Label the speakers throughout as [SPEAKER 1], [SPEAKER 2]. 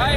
[SPEAKER 1] Hai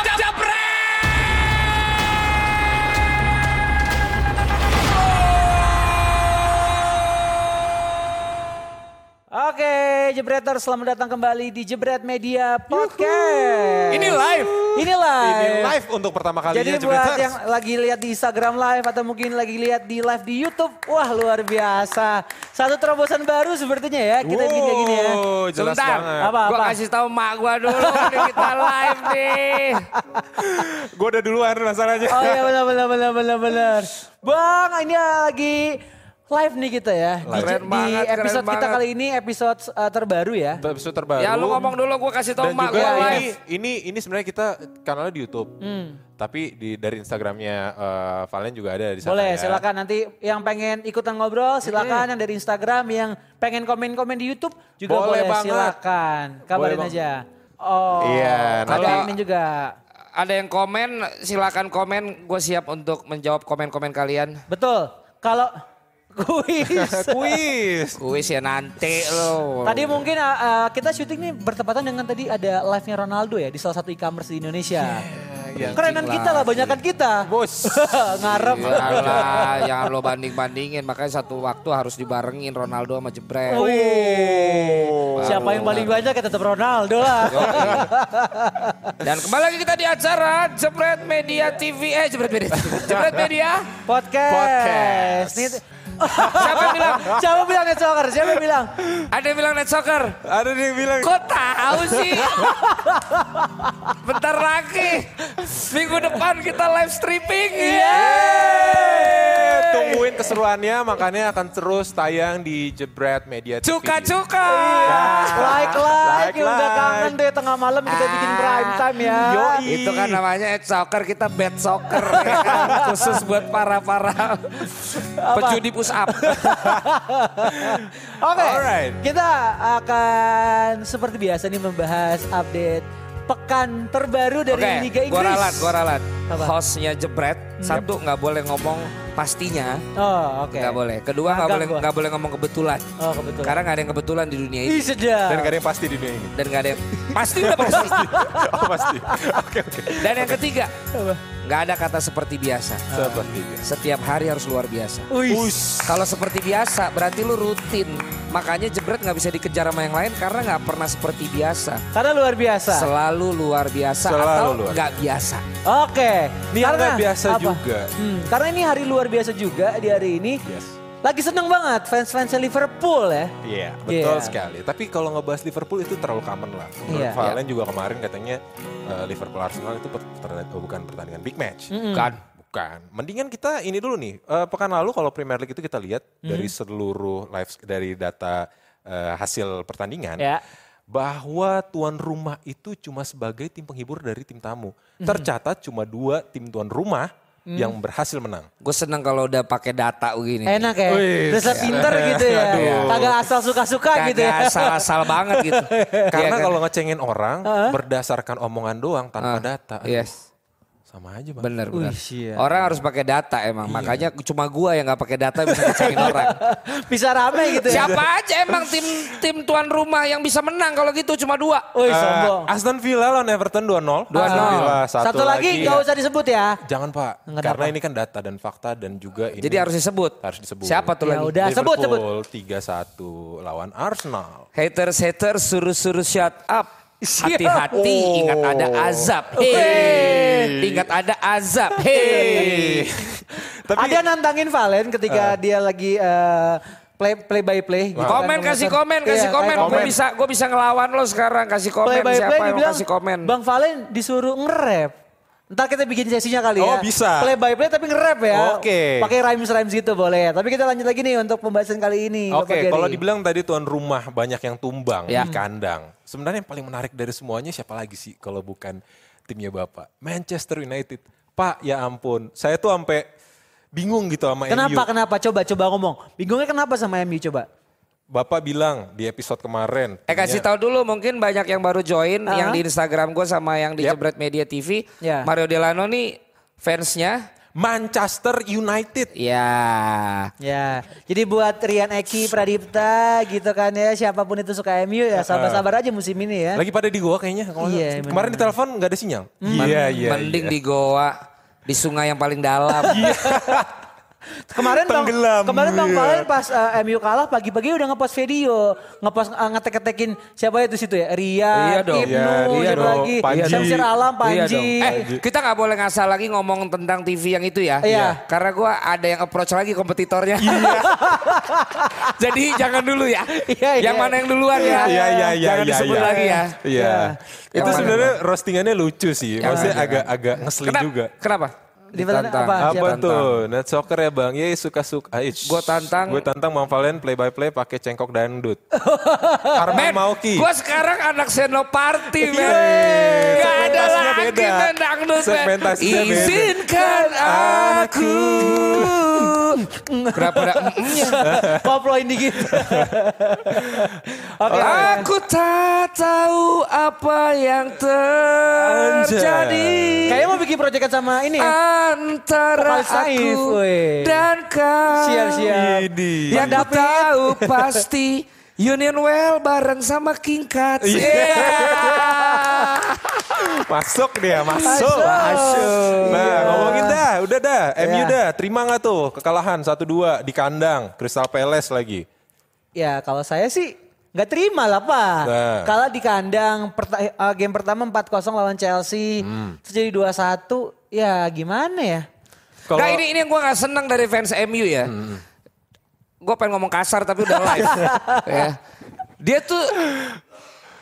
[SPEAKER 1] japret!
[SPEAKER 2] Oke, Jebretor selamat datang kembali di Jebret Media Podcast.
[SPEAKER 3] Ini live.
[SPEAKER 2] Ini live.
[SPEAKER 3] Ini live untuk pertama kalinya
[SPEAKER 2] Iya. Jadi buat
[SPEAKER 3] Jupiters.
[SPEAKER 2] yang lagi lihat di Instagram live atau mungkin lagi lihat di live di YouTube, wah luar biasa. Satu terobosan baru sepertinya ya. Kita bikin kayak gini ya.
[SPEAKER 3] Wow, jelas
[SPEAKER 4] Sebentar.
[SPEAKER 3] banget.
[SPEAKER 2] Apa
[SPEAKER 4] Gua
[SPEAKER 2] apa?
[SPEAKER 4] kasih tahu mak gua dulu nih kita live nih.
[SPEAKER 3] Gue udah duluan masalahnya.
[SPEAKER 2] Oh iya benar benar benar benar benar. Bang, ini lagi live nih kita ya. Di,
[SPEAKER 4] Keren
[SPEAKER 2] di
[SPEAKER 4] banget, keren
[SPEAKER 2] episode kita
[SPEAKER 4] banget.
[SPEAKER 2] kali ini episode eh, terbaru ya.
[SPEAKER 3] Episode terbaru.
[SPEAKER 4] Ya lu ngomong dulu gua kasih tahu
[SPEAKER 3] Dan
[SPEAKER 4] mak
[SPEAKER 3] juga
[SPEAKER 4] gua
[SPEAKER 3] ini,
[SPEAKER 4] live.
[SPEAKER 3] ini, ini sebenarnya kita kanalnya di YouTube.
[SPEAKER 2] Hmm.
[SPEAKER 3] Tapi di, dari Instagramnya eh, Valen juga ada di sana.
[SPEAKER 2] Boleh,
[SPEAKER 3] ya.
[SPEAKER 2] silakan nanti yang pengen ikutan ngobrol silakan yang dari Instagram, yang pengen komen-komen di YouTube juga boleh,
[SPEAKER 3] Boleh banget.
[SPEAKER 2] silakan. Kabarin
[SPEAKER 3] banget.
[SPEAKER 2] aja. Oh.
[SPEAKER 3] Iya,
[SPEAKER 2] ada
[SPEAKER 4] nanti-
[SPEAKER 2] ini juga.
[SPEAKER 4] Ada yang komen, silakan komen. Gue siap untuk menjawab komen-komen kalian.
[SPEAKER 2] Betul. Kalau kuis.
[SPEAKER 3] Kuis.
[SPEAKER 4] Kuis ya nanti lo.
[SPEAKER 2] Tadi mungkin uh, uh, kita syuting nih bertepatan dengan tadi ada live-nya Ronaldo ya di salah satu e-commerce di Indonesia. Kerenan kita lah, banyakan kita.
[SPEAKER 3] Iya, Bos. Iya.
[SPEAKER 2] Ngarep.
[SPEAKER 4] Yalah, jangan lo banding-bandingin. Makanya satu waktu harus dibarengin Ronaldo sama Jebret.
[SPEAKER 1] Oh, iya.
[SPEAKER 2] Wih, siapa yang paling banyak ya tetap Ronaldo lah.
[SPEAKER 4] Dan kembali lagi kita di acara Jebret Media TV. Eh, Jebret Media. Jebret Media.
[SPEAKER 2] Podcast.
[SPEAKER 3] Podcast.
[SPEAKER 2] Nih-
[SPEAKER 4] Siapa yang bilang?
[SPEAKER 2] Siapa bilang net soccer? Siapa yang bilang?
[SPEAKER 4] Ada yang bilang net soccer.
[SPEAKER 3] Ada yang bilang.
[SPEAKER 4] Kok tahu sih? Bentar lagi minggu depan kita live streaming.
[SPEAKER 3] "Eh, Tungguin keseruannya makanya akan terus tayang di Jebret Media TV.
[SPEAKER 4] Cuka-cuka.
[SPEAKER 2] Like like,
[SPEAKER 3] Like,
[SPEAKER 2] ya udah
[SPEAKER 3] like.
[SPEAKER 2] kangen deh tengah malam kita bikin
[SPEAKER 4] Ah,
[SPEAKER 2] prime time ya.
[SPEAKER 3] Yoi.
[SPEAKER 4] Itu kan namanya head soccer, kita bed soccer. ya kan? Khusus buat para-para pejudi push up.
[SPEAKER 2] Oke,
[SPEAKER 3] Alright.
[SPEAKER 2] kita akan seperti biasa nih membahas update pekan terbaru dari Liga Inggris.
[SPEAKER 4] gua ralat, gua ralat.
[SPEAKER 2] Apa?
[SPEAKER 4] Hostnya jebret, satu nggak boleh ngomong pastinya.
[SPEAKER 2] Oh oke.
[SPEAKER 4] Nggak boleh. Kedua nggak
[SPEAKER 2] Agak
[SPEAKER 4] boleh
[SPEAKER 2] gua.
[SPEAKER 4] nggak boleh ngomong kebetulan.
[SPEAKER 2] Oh kebetulan.
[SPEAKER 4] Karena nggak ada yang kebetulan di dunia ini.
[SPEAKER 2] Ih sedap.
[SPEAKER 3] Dan gak ada yang pasti di dunia ini.
[SPEAKER 4] dan nggak ada yang pasti udah pasti.
[SPEAKER 3] Oh pasti. Oke oke.
[SPEAKER 4] Dan yang ketiga,
[SPEAKER 2] Apa?
[SPEAKER 4] nggak ada kata seperti biasa.
[SPEAKER 3] Seperti biasa.
[SPEAKER 4] Setiap hari harus luar biasa.
[SPEAKER 2] Wih.
[SPEAKER 4] Kalau seperti biasa, berarti lu rutin. Makanya jebret nggak bisa dikejar sama yang lain karena nggak pernah seperti biasa.
[SPEAKER 2] Karena luar biasa.
[SPEAKER 4] Selalu luar biasa
[SPEAKER 3] Selalu
[SPEAKER 4] atau
[SPEAKER 3] luar.
[SPEAKER 4] nggak biasa.
[SPEAKER 2] Oke.
[SPEAKER 3] Ini yang nggak biasa juga.
[SPEAKER 2] Hmm, karena ini hari luar biasa juga di hari ini.
[SPEAKER 3] Yes.
[SPEAKER 2] Lagi seneng banget fans-fans Liverpool ya.
[SPEAKER 3] Iya, betul
[SPEAKER 2] Iya.
[SPEAKER 3] sekali. Tapi kalau ngebahas Liverpool itu terlalu common lah. Menurut
[SPEAKER 2] Iya.
[SPEAKER 3] Valen juga kemarin katanya eh, Liverpool Arsenal itu per- ter- oh, bukan pertandingan big match.
[SPEAKER 4] Kan?
[SPEAKER 3] Bukan. Mendingan kita ini dulu nih. Eh, pekan lalu kalau Premier League itu kita lihat
[SPEAKER 2] Mm-hmm.
[SPEAKER 3] dari seluruh live dari data eh, hasil pertandingan
[SPEAKER 2] Ya.
[SPEAKER 3] bahwa tuan rumah itu cuma sebagai tim penghibur dari tim tamu.
[SPEAKER 2] Mm-hmm.
[SPEAKER 3] Tercatat cuma dua tim tuan rumah
[SPEAKER 2] Mm.
[SPEAKER 3] yang berhasil menang.
[SPEAKER 4] Gue seneng kalau udah pakai data begini.
[SPEAKER 2] Enak ya.
[SPEAKER 3] Wih. Iya.
[SPEAKER 2] Terus pinter gitu ya. Kagak asal suka-suka
[SPEAKER 4] Kagak
[SPEAKER 2] gitu ya.
[SPEAKER 4] asal-asal banget gitu. Iya
[SPEAKER 3] Karena
[SPEAKER 4] kan?
[SPEAKER 3] kalau ngecengin orang berdasarkan omongan doang
[SPEAKER 4] Ah,
[SPEAKER 3] tanpa data, aduh,
[SPEAKER 4] Yes.
[SPEAKER 3] sama aja bang.
[SPEAKER 4] Bener, bener.
[SPEAKER 2] Wih, iya.
[SPEAKER 4] Orang harus pakai data emang. Makanya cuma gua yang nggak pakai data bisa ngecengin orang.
[SPEAKER 2] Bisa rame gitu ya.
[SPEAKER 4] Siapa aja emang tim tim tuan rumah yang bisa menang kalau gitu cuma dua.
[SPEAKER 2] Wih
[SPEAKER 3] Eh,
[SPEAKER 2] sombong.
[SPEAKER 3] Aston Villa lawan Everton Ah, 2-0. 2-0.
[SPEAKER 2] Satu, lagi nggak usah disebut ya.
[SPEAKER 3] Iya. Jangan pak,
[SPEAKER 2] Enggak
[SPEAKER 3] karena
[SPEAKER 2] apa.
[SPEAKER 3] ini kan data dan fakta dan juga ini.
[SPEAKER 4] Jadi harus disebut.
[SPEAKER 3] Harus disebut.
[SPEAKER 4] Siapa tuh lagi?
[SPEAKER 2] Ya udah sebut sebut.
[SPEAKER 3] Liverpool 3-1 lawan Arsenal.
[SPEAKER 4] Haters haters suruh suruh shut up. Hati-hati
[SPEAKER 3] Oh.
[SPEAKER 4] ingat ada azab. Hey. Ingat ada azab. Hey.
[SPEAKER 3] Tapi
[SPEAKER 2] Ada nantangin Valen ketika dia lagi eh, play play by play. gitu kan,
[SPEAKER 4] Komen kasih
[SPEAKER 2] pemirsa.
[SPEAKER 4] komen kasih
[SPEAKER 2] Iya,
[SPEAKER 4] komen.
[SPEAKER 2] kayak
[SPEAKER 4] Gue bisa gue bisa ngelawan lo sekarang kasih komen
[SPEAKER 2] Play by
[SPEAKER 4] siapa
[SPEAKER 2] play
[SPEAKER 4] yang mau
[SPEAKER 2] dibilang
[SPEAKER 4] kasih komen.
[SPEAKER 2] Bang Valen disuruh nge-rap. Ntar kita bikin sesinya kali ya.
[SPEAKER 3] Oh, bisa.
[SPEAKER 2] Play by play tapi nge-rap ya.
[SPEAKER 3] Oke.
[SPEAKER 2] Pakai rhymes-rhymes gitu boleh. Tapi kita lanjut lagi nih untuk pembahasan kali ini. Bapak
[SPEAKER 3] Oke,
[SPEAKER 2] Gary.
[SPEAKER 3] kalau dibilang tadi tuan rumah banyak yang tumbang
[SPEAKER 4] Ya.
[SPEAKER 3] di kandang. Sebenarnya yang paling menarik dari semuanya siapa lagi sih kalau bukan timnya Bapak? Manchester United. Pak, ya ampun. Saya tuh sampai bingung gitu sama
[SPEAKER 2] Kenapa,
[SPEAKER 3] MU.
[SPEAKER 2] kenapa? Coba, coba ngomong. Bingungnya kenapa sama MU coba?
[SPEAKER 3] Bapak bilang di episode kemarin.
[SPEAKER 4] Eh
[SPEAKER 2] kan-
[SPEAKER 4] kasih tahu dulu mungkin banyak yang baru join yang di Instagram gue sama yang di Jebret Media TV.
[SPEAKER 2] Ya.
[SPEAKER 4] Mario Delano nih fansnya.
[SPEAKER 3] Manchester United.
[SPEAKER 4] Ya.
[SPEAKER 2] Ya, jadi buat Rian Eki, Pradipta gitu kan ya, siapapun itu suka MU ya sabar-sabar aja musim ini ya.
[SPEAKER 3] Lagi pada di Goa kayaknya. Kalau-
[SPEAKER 2] Iya, benar.
[SPEAKER 3] kemarin ditelepon nggak ada sinyal.
[SPEAKER 4] Hmm.
[SPEAKER 3] Iya,
[SPEAKER 4] Mending di goa, di sungai yang paling dalam.
[SPEAKER 3] Iya.
[SPEAKER 2] Kemarin Bang,
[SPEAKER 3] Tenggelam,
[SPEAKER 2] kemarin Bang
[SPEAKER 3] iya.
[SPEAKER 2] Valen pas eh, MU kalah pagi-pagi udah ngepost video, ngepost eh, ngetek-ngetekin siapa itu situ ya?
[SPEAKER 4] Iya
[SPEAKER 2] Rian,
[SPEAKER 4] dong.
[SPEAKER 2] Ibnu,
[SPEAKER 3] Iya, Rian
[SPEAKER 2] siapa
[SPEAKER 3] dong,
[SPEAKER 2] lagi?
[SPEAKER 3] Panji.
[SPEAKER 2] Syamsir Alam,
[SPEAKER 4] Iya
[SPEAKER 2] Panji.
[SPEAKER 4] dong. Eh, kita nggak boleh ngasal lagi ngomong tentang TV yang itu ya.
[SPEAKER 2] Iya.
[SPEAKER 4] Karena gua ada yang approach lagi kompetitornya.
[SPEAKER 3] Iya.
[SPEAKER 4] Jadi jangan dulu ya.
[SPEAKER 2] Iya, iya.
[SPEAKER 4] Yang mana yang duluan ya.
[SPEAKER 3] Iya, iya, iya.
[SPEAKER 4] Jangan
[SPEAKER 3] iya,
[SPEAKER 4] disebut
[SPEAKER 3] iya.
[SPEAKER 4] lagi ya.
[SPEAKER 3] Iya. Itu
[SPEAKER 4] Yang
[SPEAKER 3] sebenarnya roastingannya lucu sih.
[SPEAKER 4] Iya,
[SPEAKER 3] Maksudnya
[SPEAKER 4] mana?
[SPEAKER 3] agak-agak ngeselin
[SPEAKER 4] Kenapa?
[SPEAKER 3] juga.
[SPEAKER 4] Kenapa?
[SPEAKER 2] Di mana- apa? Ah,
[SPEAKER 3] Apa
[SPEAKER 4] Ditantang.
[SPEAKER 3] tuh? Net soccer ya bang? Iya suka suka.
[SPEAKER 4] Iya, Gua tantang.
[SPEAKER 3] Gue tantang Mang Valen play by play pakai cengkok dangdut. Arman
[SPEAKER 4] Men,
[SPEAKER 3] Mauki.
[SPEAKER 4] gue sekarang anak senoparti, men.
[SPEAKER 3] Yeay,
[SPEAKER 4] Gak ada
[SPEAKER 3] Iya. segmentasinya
[SPEAKER 4] lagi,
[SPEAKER 3] beda.
[SPEAKER 4] men, dangdut, men.
[SPEAKER 3] Segmentasinya beda.
[SPEAKER 4] Izinkan aku. Kenapa ada mm-nya?
[SPEAKER 2] Poploin dikit. Oke.
[SPEAKER 4] Ah. Aku tak tahu apa yang terjadi
[SPEAKER 2] Kayaknya mau bikin proyekan sama ini
[SPEAKER 4] Ah.
[SPEAKER 2] ya.
[SPEAKER 4] antara
[SPEAKER 2] Vokalis Saif,
[SPEAKER 4] aku
[SPEAKER 2] weh.
[SPEAKER 4] dan kau.
[SPEAKER 2] Siap-siap.
[SPEAKER 3] Ini.
[SPEAKER 4] Yang
[SPEAKER 2] Bang
[SPEAKER 4] tak
[SPEAKER 2] David.
[SPEAKER 4] tahu pasti Union Well bareng sama King Cut.
[SPEAKER 3] Iya.
[SPEAKER 4] Yeah.
[SPEAKER 3] Masuk dia, masuk.
[SPEAKER 4] Masuk.
[SPEAKER 3] Nah, ngomongin dah, udah dah.
[SPEAKER 4] Iya.
[SPEAKER 3] MU dah, terima nggak tuh kekalahan 1-2 di kandang Crystal Palace lagi.
[SPEAKER 2] Ya kalau saya sih nggak terima lah pak.
[SPEAKER 3] Nah.
[SPEAKER 2] Kalau di kandang perta- eh, game pertama 4-0 lawan Chelsea,
[SPEAKER 3] Hmm.
[SPEAKER 2] terus jadi 2-1, ya gimana ya?
[SPEAKER 3] Kalau
[SPEAKER 4] Nah ini ini yang gue gak senang dari fans MU ya. Gue pengen ngomong kasar tapi udah live. ya. Dia tuh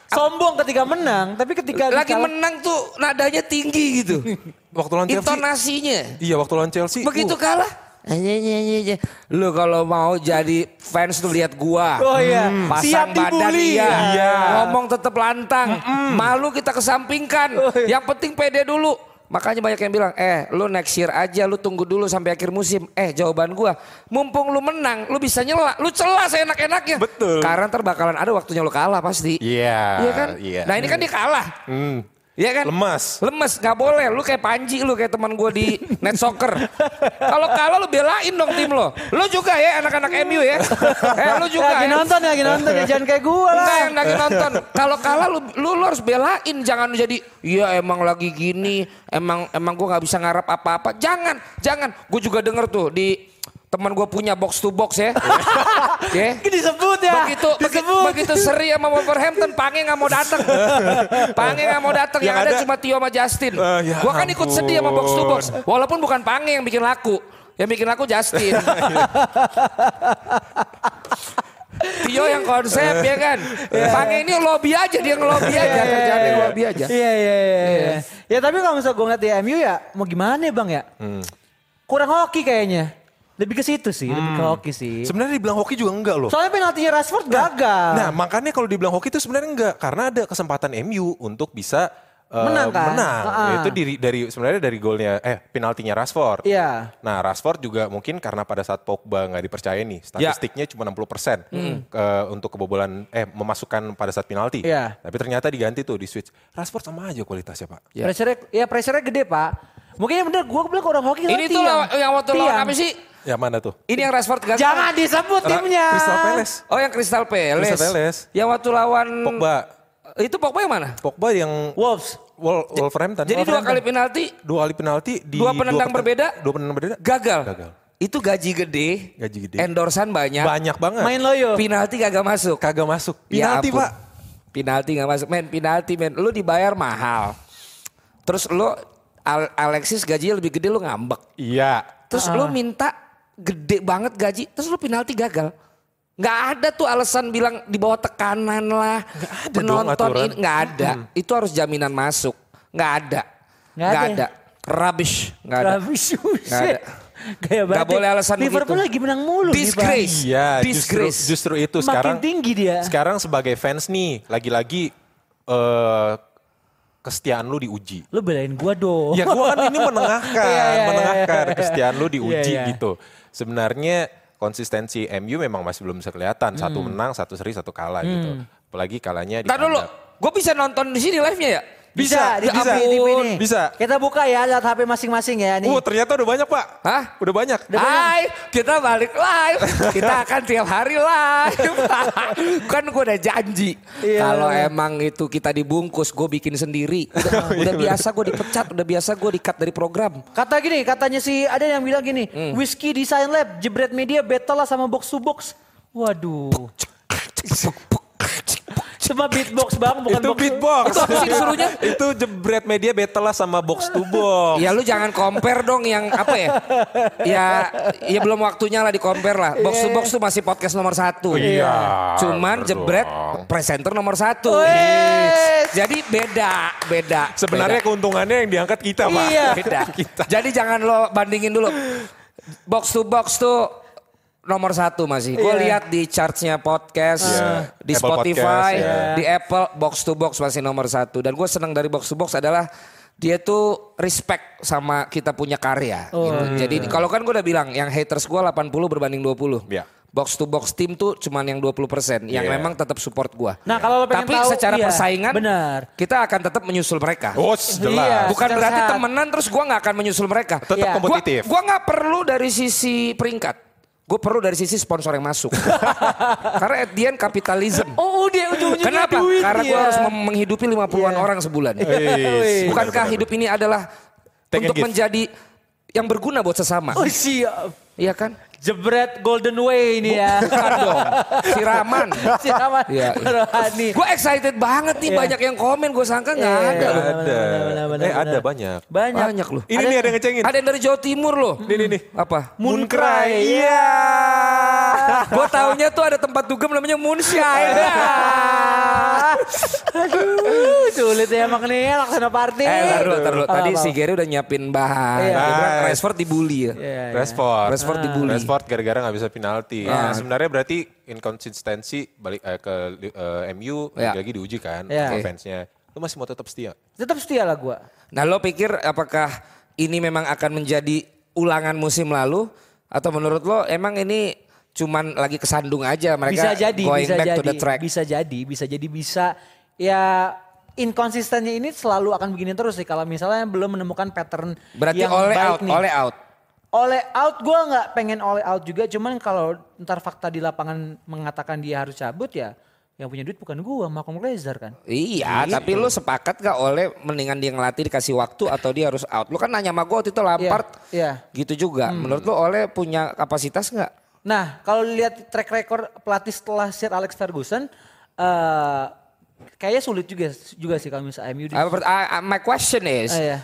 [SPEAKER 2] Sombong ketika menang, tapi ketika
[SPEAKER 4] lagi
[SPEAKER 2] kalah-
[SPEAKER 4] menang tuh nadanya tinggi gitu.
[SPEAKER 3] waktu lawan Chelsea,
[SPEAKER 4] Intonasinya.
[SPEAKER 3] iya waktu lawan Chelsea,
[SPEAKER 4] Begitu kan?
[SPEAKER 3] uh,
[SPEAKER 4] kalah. Eh, Nye, nye, nye, nye. Lu kalau mau jadi fans tuh lihat gua. Hmm,
[SPEAKER 2] Oh iya, siap
[SPEAKER 4] Pasang badan
[SPEAKER 2] dibully.
[SPEAKER 4] iya.
[SPEAKER 3] Iya.
[SPEAKER 4] Ngomong tetap lantang. Malu kita kesampingkan. Yang penting pede dulu. Makanya banyak yang bilang, eh lu next year aja, lu tunggu dulu sampai akhir musim. Eh jawaban gua, mumpung lu menang, lu bisa nyela, lu celah seenak-enaknya.
[SPEAKER 3] Betul.
[SPEAKER 4] Karena ntar bakalan ada waktunya lu kalah pasti.
[SPEAKER 3] Iya,
[SPEAKER 4] Iya kan?
[SPEAKER 3] iya.
[SPEAKER 4] Nah ini kan dia kalah.
[SPEAKER 3] hmm,
[SPEAKER 4] Iya kan?
[SPEAKER 3] lemas.
[SPEAKER 4] Lemes, nggak boleh. Lu kayak Panji, lu kayak teman gue di net soccer. Kalau kalah lu belain dong tim lo. Lu juga ya anak-anak MU ya. Eh lu juga
[SPEAKER 2] lagi
[SPEAKER 4] ya.
[SPEAKER 2] nonton, lagi nonton, ya jangan kayak gue lah.
[SPEAKER 4] Enggak yang lagi nonton. Kalau kalah lu, lu, lu harus belain, jangan jadi iya emang lagi gini, emang emang gua nggak bisa ngarap apa-apa. Jangan, jangan. Gue juga denger tuh di teman gue punya box to box ya. ya.
[SPEAKER 2] Ini disebut ya,
[SPEAKER 4] Begitu, begi-
[SPEAKER 2] disebut.
[SPEAKER 4] begitu seri sama Wolverhampton, Pange nggak mau datang. Pange nggak mau datang, yang,
[SPEAKER 3] Yang
[SPEAKER 4] ada,
[SPEAKER 3] ada-
[SPEAKER 4] cuma Tio sama Justin.
[SPEAKER 3] Eh, ya
[SPEAKER 4] gua kan ikut sedih sama box to box,
[SPEAKER 3] ampun.
[SPEAKER 4] walaupun bukan Pange yang bikin laku. Yang bikin laku Justin. Tio yang konsep ya kan.
[SPEAKER 3] Eh.
[SPEAKER 4] Pange ini lobby aja dia ngelobi aja, kerjaannya ngelobi aja.
[SPEAKER 2] Iya, iya, iya. iya. Ya tapi kalau misalnya gue ngeliat di MU ya, mau gimana ya bang ya?
[SPEAKER 4] Hmm.
[SPEAKER 2] Kurang hoki kayaknya. Lebih ke situ sih,
[SPEAKER 4] Hmm.
[SPEAKER 2] lebih ke hoki
[SPEAKER 4] Iya.
[SPEAKER 2] sih.
[SPEAKER 3] Sebenarnya dibilang hoki juga enggak loh.
[SPEAKER 2] Soalnya penaltinya Rashford gagal.
[SPEAKER 3] Nah, makanya kalau dibilang hoki itu sebenarnya enggak karena ada kesempatan MU untuk bisa eh,
[SPEAKER 2] Menang, kan?
[SPEAKER 3] menang.
[SPEAKER 4] Ah.
[SPEAKER 2] Heeh.
[SPEAKER 3] Itu dari, dari sebenarnya dari golnya eh penaltinya Rashford.
[SPEAKER 2] Iya.
[SPEAKER 3] Nah, Rashford juga mungkin karena pada saat Pogba nggak dipercaya
[SPEAKER 4] Ya.
[SPEAKER 3] nih, statistiknya cuma 60 persen untuk kebobolan eh memasukkan pada saat penalti.
[SPEAKER 2] Iya.
[SPEAKER 3] Tapi ternyata diganti tuh di switch. Rashford sama aja kualitasnya pak.
[SPEAKER 4] Ya.
[SPEAKER 2] Pressure-nya, ya pressure-nya gede pak. Mungkin yang bener gue bilang kurang hoki
[SPEAKER 4] Ini tuh lawan- yang waktu lawan apa sih?
[SPEAKER 3] Ya mana tuh?
[SPEAKER 4] Ini yang Rashford gagal.
[SPEAKER 2] Jangan disebut timnya.
[SPEAKER 3] Crystal Palace.
[SPEAKER 4] Oh yang Crystal Palace.
[SPEAKER 3] Crystal Palace.
[SPEAKER 4] Yang waktu lawan
[SPEAKER 3] Pogba.
[SPEAKER 4] Itu Pogba yang mana?
[SPEAKER 3] Pogba yang
[SPEAKER 2] Wolves.
[SPEAKER 3] Wol- Wolverhampton.
[SPEAKER 4] Jadi dua kali
[SPEAKER 3] Wolverhampton.
[SPEAKER 4] penalti
[SPEAKER 3] dua kali penalti di
[SPEAKER 4] Dua penendang
[SPEAKER 3] peten-
[SPEAKER 4] berbeda?
[SPEAKER 3] Dua penendang berbeda.
[SPEAKER 4] gagal.
[SPEAKER 3] Gagal.
[SPEAKER 4] Itu gaji gede,
[SPEAKER 3] Gaji gede.
[SPEAKER 4] endorsan banyak,
[SPEAKER 3] Banyak banget.
[SPEAKER 2] Main loyo.
[SPEAKER 4] penalti kagak masuk.
[SPEAKER 3] kagak masuk.
[SPEAKER 4] Ya
[SPEAKER 3] Penalti,
[SPEAKER 4] ampun.
[SPEAKER 3] Pak.
[SPEAKER 4] Penalti gak masuk. Men, penalti men. Lu dibayar mahal. Terus lu Al- Alexis gajinya lebih gede lu ngambek.
[SPEAKER 3] Iya.
[SPEAKER 4] Terus lu
[SPEAKER 2] Ah.
[SPEAKER 4] minta gede banget gaji, terus lu penalti gagal. Nggak ada tuh alasan bilang di bawah tekanan lah.
[SPEAKER 3] ada
[SPEAKER 4] penonton
[SPEAKER 3] dong aturan.
[SPEAKER 4] ini nggak ada. Itu harus jaminan masuk. Nggak ada.
[SPEAKER 2] Nggak
[SPEAKER 4] Nggak
[SPEAKER 2] ada. ya?
[SPEAKER 4] ada. Rubbish. Nggak ada.
[SPEAKER 2] Travis
[SPEAKER 4] Nggak ada.
[SPEAKER 2] Susah. Gaya banget.
[SPEAKER 4] Nggak boleh alasan
[SPEAKER 2] Liverpool
[SPEAKER 4] begitu.
[SPEAKER 2] lagi menang mulu
[SPEAKER 4] Disgrace.
[SPEAKER 2] nih
[SPEAKER 3] Iya, justru,
[SPEAKER 4] Disgrace. ya.
[SPEAKER 3] justru itu
[SPEAKER 2] Makin
[SPEAKER 3] sekarang.
[SPEAKER 2] tinggi dia.
[SPEAKER 3] Sekarang sebagai fans nih, lagi-lagi eh kesetiaan lu diuji.
[SPEAKER 2] Pak. Lu belain gua dong.
[SPEAKER 3] Ya gua kan ini menengahkan,
[SPEAKER 2] Iya, iya, iya,
[SPEAKER 3] menengahkan
[SPEAKER 2] iya.
[SPEAKER 3] kesetiaan lu diuji
[SPEAKER 2] Iya, iya.
[SPEAKER 3] gitu. Sebenarnya konsistensi MU memang masih belum bisa kelihatan. Satu menang, satu seri, satu kalah gitu. Apalagi kalahnya di
[SPEAKER 4] Hmm. Ntar dulu,
[SPEAKER 3] kandang.
[SPEAKER 4] gue bisa nonton di sini live-nya ya?
[SPEAKER 2] Bisa,
[SPEAKER 3] Bisa,
[SPEAKER 2] di
[SPEAKER 3] bisa.
[SPEAKER 2] TV, TV nih.
[SPEAKER 3] Bisa.
[SPEAKER 2] Kita buka ya lihat HP masing-masing ya nih.
[SPEAKER 3] Uh, ternyata udah banyak, Pak.
[SPEAKER 4] Iya. Hah?
[SPEAKER 3] Udah banyak.
[SPEAKER 4] Hai, kita balik live. Kita akan tiap hari live. kan gue udah janji.
[SPEAKER 2] Iya.
[SPEAKER 4] Kalau emang itu kita dibungkus, gue bikin sendiri. Udah,
[SPEAKER 3] Iya,
[SPEAKER 4] udah biasa gue dipecat, udah biasa gue di-cut dari program.
[SPEAKER 2] Kata gini, katanya si ada yang bilang gini,
[SPEAKER 4] Hmm.
[SPEAKER 2] Whiskey Design Lab, Jebret Media battle lah sama Box to Box. Waduh. Cuma beatbox bang, bukan
[SPEAKER 3] itu
[SPEAKER 2] box to-
[SPEAKER 3] beatbox.
[SPEAKER 4] Itu apa sih disuruhnya?
[SPEAKER 3] itu jebret media battle lah sama box to box.
[SPEAKER 4] Ya lu jangan compare dong yang apa ya? Ya ya belum waktunya lah di compare lah. Box to box tuh masih podcast nomor satu.
[SPEAKER 3] Iya,
[SPEAKER 4] Cuman
[SPEAKER 3] bener
[SPEAKER 4] jebret presenter nomor satu.
[SPEAKER 2] Wes.
[SPEAKER 4] Jadi beda, beda.
[SPEAKER 3] Sebenarnya
[SPEAKER 4] beda.
[SPEAKER 3] keuntungannya yang diangkat kita, Pak.
[SPEAKER 2] Iya.
[SPEAKER 4] beda.
[SPEAKER 3] kita.
[SPEAKER 4] Jadi jangan lo bandingin dulu. Box to box tuh nomor satu masih. Gue
[SPEAKER 2] Iya.
[SPEAKER 4] lihat di chartsnya podcast,
[SPEAKER 3] Iya.
[SPEAKER 4] di
[SPEAKER 3] Apple
[SPEAKER 4] Spotify,
[SPEAKER 3] Podcast, iya.
[SPEAKER 4] di Apple, box to box masih nomor satu. Dan gue senang dari box to box adalah dia tuh respect sama kita punya karya.
[SPEAKER 3] Oh.
[SPEAKER 4] gitu.
[SPEAKER 3] Hmm.
[SPEAKER 4] Jadi kalau kan gue udah bilang yang haters gue 80 berbanding 20.
[SPEAKER 3] Iya.
[SPEAKER 4] Box to box tim tuh cuman yang 20% yang
[SPEAKER 3] Iya.
[SPEAKER 4] memang tetap support gue.
[SPEAKER 2] Nah, kalau lo
[SPEAKER 4] Tapi
[SPEAKER 2] pengen tahu,
[SPEAKER 4] secara
[SPEAKER 2] iya,
[SPEAKER 4] persaingan
[SPEAKER 2] benar.
[SPEAKER 4] kita akan tetap menyusul mereka.
[SPEAKER 3] Oh, jelas.
[SPEAKER 2] Iya.
[SPEAKER 4] Bukan
[SPEAKER 2] secara
[SPEAKER 4] berarti
[SPEAKER 2] sehat.
[SPEAKER 4] temenan terus gua nggak akan menyusul mereka.
[SPEAKER 3] Tetap
[SPEAKER 2] Iya.
[SPEAKER 3] kompetitif.
[SPEAKER 4] Gua, gua nggak perlu dari sisi peringkat. Gue perlu dari sisi sponsor yang masuk. Karena at the end kapitalism.
[SPEAKER 2] Oh, dia ujung-ujungnya
[SPEAKER 4] Kenapa?
[SPEAKER 2] duit Iya.
[SPEAKER 4] Karena gue
[SPEAKER 2] ya.
[SPEAKER 4] harus mem- menghidupi 50-an orang sebulan.
[SPEAKER 2] iya,
[SPEAKER 3] Wih.
[SPEAKER 4] Iya. Bukankah
[SPEAKER 3] Benar-benar.
[SPEAKER 4] hidup ini adalah
[SPEAKER 3] Take and
[SPEAKER 4] untuk
[SPEAKER 3] give.
[SPEAKER 4] menjadi yang berguna buat sesama?
[SPEAKER 2] Oh, siap.
[SPEAKER 4] Iya kan?
[SPEAKER 2] Jebret Golden Way ini ya.
[SPEAKER 4] Bukan dong. Siraman.
[SPEAKER 2] Siapa?
[SPEAKER 4] Iya.
[SPEAKER 2] Rohani.
[SPEAKER 4] Gue excited banget nih
[SPEAKER 2] Iya.
[SPEAKER 4] banyak yang komen. Gue sangka nggak
[SPEAKER 2] Iya,
[SPEAKER 4] ada loh.
[SPEAKER 2] benar,
[SPEAKER 3] Ada.
[SPEAKER 2] benar, benar,
[SPEAKER 3] Eh,
[SPEAKER 2] benar.
[SPEAKER 3] ada banyak.
[SPEAKER 2] Banyak.
[SPEAKER 4] Banyak loh.
[SPEAKER 3] Ini nih ada yang ngecengin.
[SPEAKER 4] Ada yang dari Jawa Timur loh.
[SPEAKER 3] Nih, nih, nih.
[SPEAKER 4] Apa?
[SPEAKER 3] Mooncry.
[SPEAKER 2] Iya.
[SPEAKER 4] Gue taunya tuh ada tempat dugem namanya Moonshine.
[SPEAKER 2] Iya. Aduh, sulit ya emang nih laksana party.
[SPEAKER 4] eh, ntar dulu, ntar dulu.
[SPEAKER 2] Iya. Apa,
[SPEAKER 4] Tadi
[SPEAKER 2] apa?
[SPEAKER 4] si Gary udah nyiapin bahan.
[SPEAKER 2] Iya.
[SPEAKER 4] Dia bilang
[SPEAKER 3] Nice.
[SPEAKER 4] Rashford dibully ya.
[SPEAKER 2] Iya, iya.
[SPEAKER 3] Resport.
[SPEAKER 4] Rashford dibully.
[SPEAKER 3] Rashford gara-gara nggak bisa penalti.
[SPEAKER 4] Ah.
[SPEAKER 3] Nah, sebenarnya berarti inkonsistensi balik eh, ke eh, MU
[SPEAKER 4] Ya.
[SPEAKER 3] lagi-lagi diuji kan
[SPEAKER 2] Ya.
[SPEAKER 3] sama fansnya. Lu masih mau tetap setia?
[SPEAKER 2] Tetap setia lah gue.
[SPEAKER 4] Nah lo pikir apakah ini memang akan menjadi ulangan musim lalu? Atau menurut lo emang ini cuman lagi kesandung aja mereka
[SPEAKER 2] Bisa jadi,
[SPEAKER 4] going
[SPEAKER 2] bisa
[SPEAKER 4] back
[SPEAKER 2] jadi,
[SPEAKER 4] to the track.
[SPEAKER 2] bisa jadi, bisa jadi bisa. Ya inkonsistennya ini selalu akan begini terus sih kalau misalnya belum menemukan pattern
[SPEAKER 4] Berarti
[SPEAKER 2] yang
[SPEAKER 4] oleh
[SPEAKER 2] baik
[SPEAKER 4] out,
[SPEAKER 2] nih.
[SPEAKER 4] oleh out.
[SPEAKER 2] Oleh out gue nggak pengen oleh out juga, cuman kalau ntar fakta di lapangan mengatakan dia harus cabut ya, yang punya duit bukan gue, Malcolm Glazer kan.
[SPEAKER 4] Iya, tapi lu sepakat gak oleh mendingan dia ngelatih dikasih waktu atau dia harus out? Lu kan nanya sama gue waktu itu Lampard,
[SPEAKER 2] iya.
[SPEAKER 4] gitu juga. Menurut lu oleh punya kapasitas gak?
[SPEAKER 2] Nah, kalau lihat track record pelatih setelah Sir Alex Ferguson, eh kayaknya sulit juga juga sih kalau misalnya MU. di-
[SPEAKER 4] Uh, but I- I- my question is,
[SPEAKER 2] Ah, iya.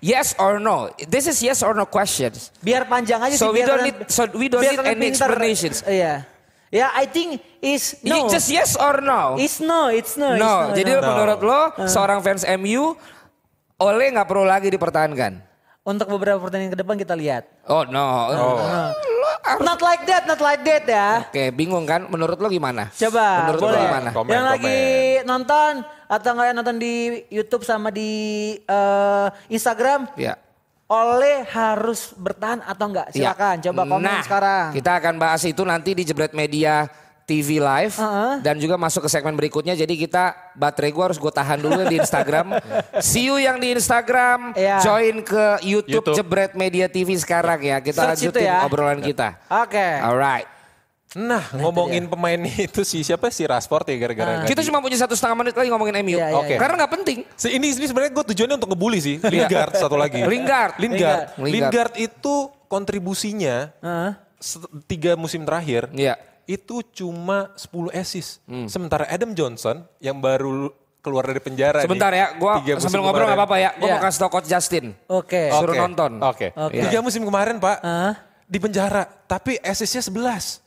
[SPEAKER 4] yes or no? This is yes or no questions.
[SPEAKER 2] biar panjang aja
[SPEAKER 4] So
[SPEAKER 2] sih.
[SPEAKER 4] we
[SPEAKER 2] biar
[SPEAKER 4] don't
[SPEAKER 2] kalian-
[SPEAKER 4] need- so we don't
[SPEAKER 2] biar
[SPEAKER 4] need
[SPEAKER 2] kalian
[SPEAKER 4] any
[SPEAKER 2] pintar.
[SPEAKER 4] explanations.
[SPEAKER 2] Iya. Ya, I think is no.
[SPEAKER 4] You just yes or no?
[SPEAKER 2] It's no, it's no. Uh. it's
[SPEAKER 4] no. Jadi
[SPEAKER 2] no.
[SPEAKER 4] menurut lo seorang fans MU, oleh nggak perlu lagi dipertahankan?
[SPEAKER 2] untuk beberapa pertandingan ke depan kita lihat.
[SPEAKER 4] Oh no. Lo harus-
[SPEAKER 2] Not like that, not like that ya.
[SPEAKER 4] Oke, bingung kan? Menurut lo gimana?
[SPEAKER 2] Coba,
[SPEAKER 4] Menurut
[SPEAKER 2] boleh.
[SPEAKER 4] lo gimana?
[SPEAKER 3] Komen,
[SPEAKER 2] Yang
[SPEAKER 3] komen.
[SPEAKER 2] lagi nonton atau nggak yang nonton di YouTube sama di eh, Instagram,
[SPEAKER 4] Ya.
[SPEAKER 2] oleh harus bertahan atau enggak?
[SPEAKER 4] Iya.
[SPEAKER 2] Silakan coba komen
[SPEAKER 4] Nah,
[SPEAKER 2] sekarang.
[SPEAKER 4] Kita akan bahas itu nanti di Jebret Media TV Live
[SPEAKER 2] Heeh.
[SPEAKER 4] dan juga masuk ke segmen berikutnya. Jadi kita baterai gue harus gue tahan dulu di Instagram. See you yang di Instagram,
[SPEAKER 2] Iya.
[SPEAKER 4] join ke YouTube,
[SPEAKER 3] YouTube. Iya.
[SPEAKER 4] Jebret Media TV sekarang ya. Kita
[SPEAKER 2] Search itu
[SPEAKER 4] lanjutin
[SPEAKER 2] ya.
[SPEAKER 4] obrolan kita.
[SPEAKER 2] Oke.
[SPEAKER 4] Alright.
[SPEAKER 3] Nah, ngomongin pemain itu si siapa si Rashford ya
[SPEAKER 4] Ah.
[SPEAKER 3] gara-gara.
[SPEAKER 4] Kita
[SPEAKER 3] tadi.
[SPEAKER 4] cuma punya satu setengah menit lagi ngomongin MU.
[SPEAKER 2] Nah, Iya, iya,
[SPEAKER 3] Oke. iya.
[SPEAKER 4] Karena nggak penting.
[SPEAKER 3] Si- ini ini sebenarnya gue tujuannya untuk ngebully sih. Lingard satu lagi.
[SPEAKER 4] Iya. Lingard.
[SPEAKER 3] Lingard.
[SPEAKER 4] Lingard.
[SPEAKER 3] Lingard itu kontribusinya
[SPEAKER 2] Heeh.
[SPEAKER 3] set- tiga musim terakhir
[SPEAKER 4] Iya. Hmm.
[SPEAKER 3] itu cuma 10 assist. Sementara Adam Johnson yang baru keluar dari penjara nih,
[SPEAKER 4] Sebentar ya, gue
[SPEAKER 3] tiga musim
[SPEAKER 4] sambil ngobrol
[SPEAKER 3] kemarin.
[SPEAKER 4] nggak apa-apa ya. Gue
[SPEAKER 2] Iya.
[SPEAKER 4] mau kasih tau Coach Justin.
[SPEAKER 2] Oke.
[SPEAKER 4] Oke. Suruh
[SPEAKER 3] Oke.
[SPEAKER 4] nonton. Iya.
[SPEAKER 3] Oke.
[SPEAKER 2] Oke.
[SPEAKER 3] Tiga musim kemarin Pak.
[SPEAKER 2] Hah?
[SPEAKER 3] Di penjara. Tapi assistnya 11.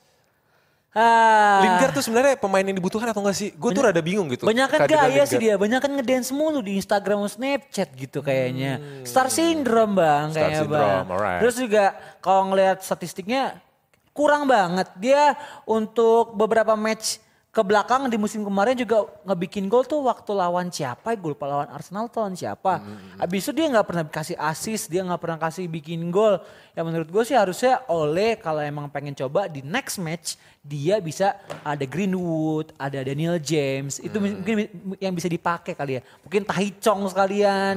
[SPEAKER 2] Ah.
[SPEAKER 3] Lingard tuh sebenarnya pemain yang dibutuhkan atau enggak sih? Gue tuh rada bingung gitu.
[SPEAKER 2] Banyak kan
[SPEAKER 3] kehadiran
[SPEAKER 2] gaya sih
[SPEAKER 3] Lingard.
[SPEAKER 2] dia, banyak kan ngedance mulu di Instagram sama Snapchat gitu kayaknya. Star syndrome bang
[SPEAKER 3] Star
[SPEAKER 2] kayaknya bang.
[SPEAKER 3] syndrome, alright.
[SPEAKER 2] Terus juga kalau ngelihat statistiknya kurang banget. Dia untuk beberapa match ke belakang di musim kemarin juga ngebikin gol tuh waktu lawan siapa ya, gol lawan Arsenal tuh lawan siapa. Abis itu dia nggak pernah kasih assist, dia nggak pernah kasih bikin gol. Ya menurut gue sih harusnya oleh kalau emang pengen coba di next match dia bisa ada Greenwood, ada Daniel James, itu mungkin yang bisa dipakai kali ya. Mungkin Tai Chong sekalian.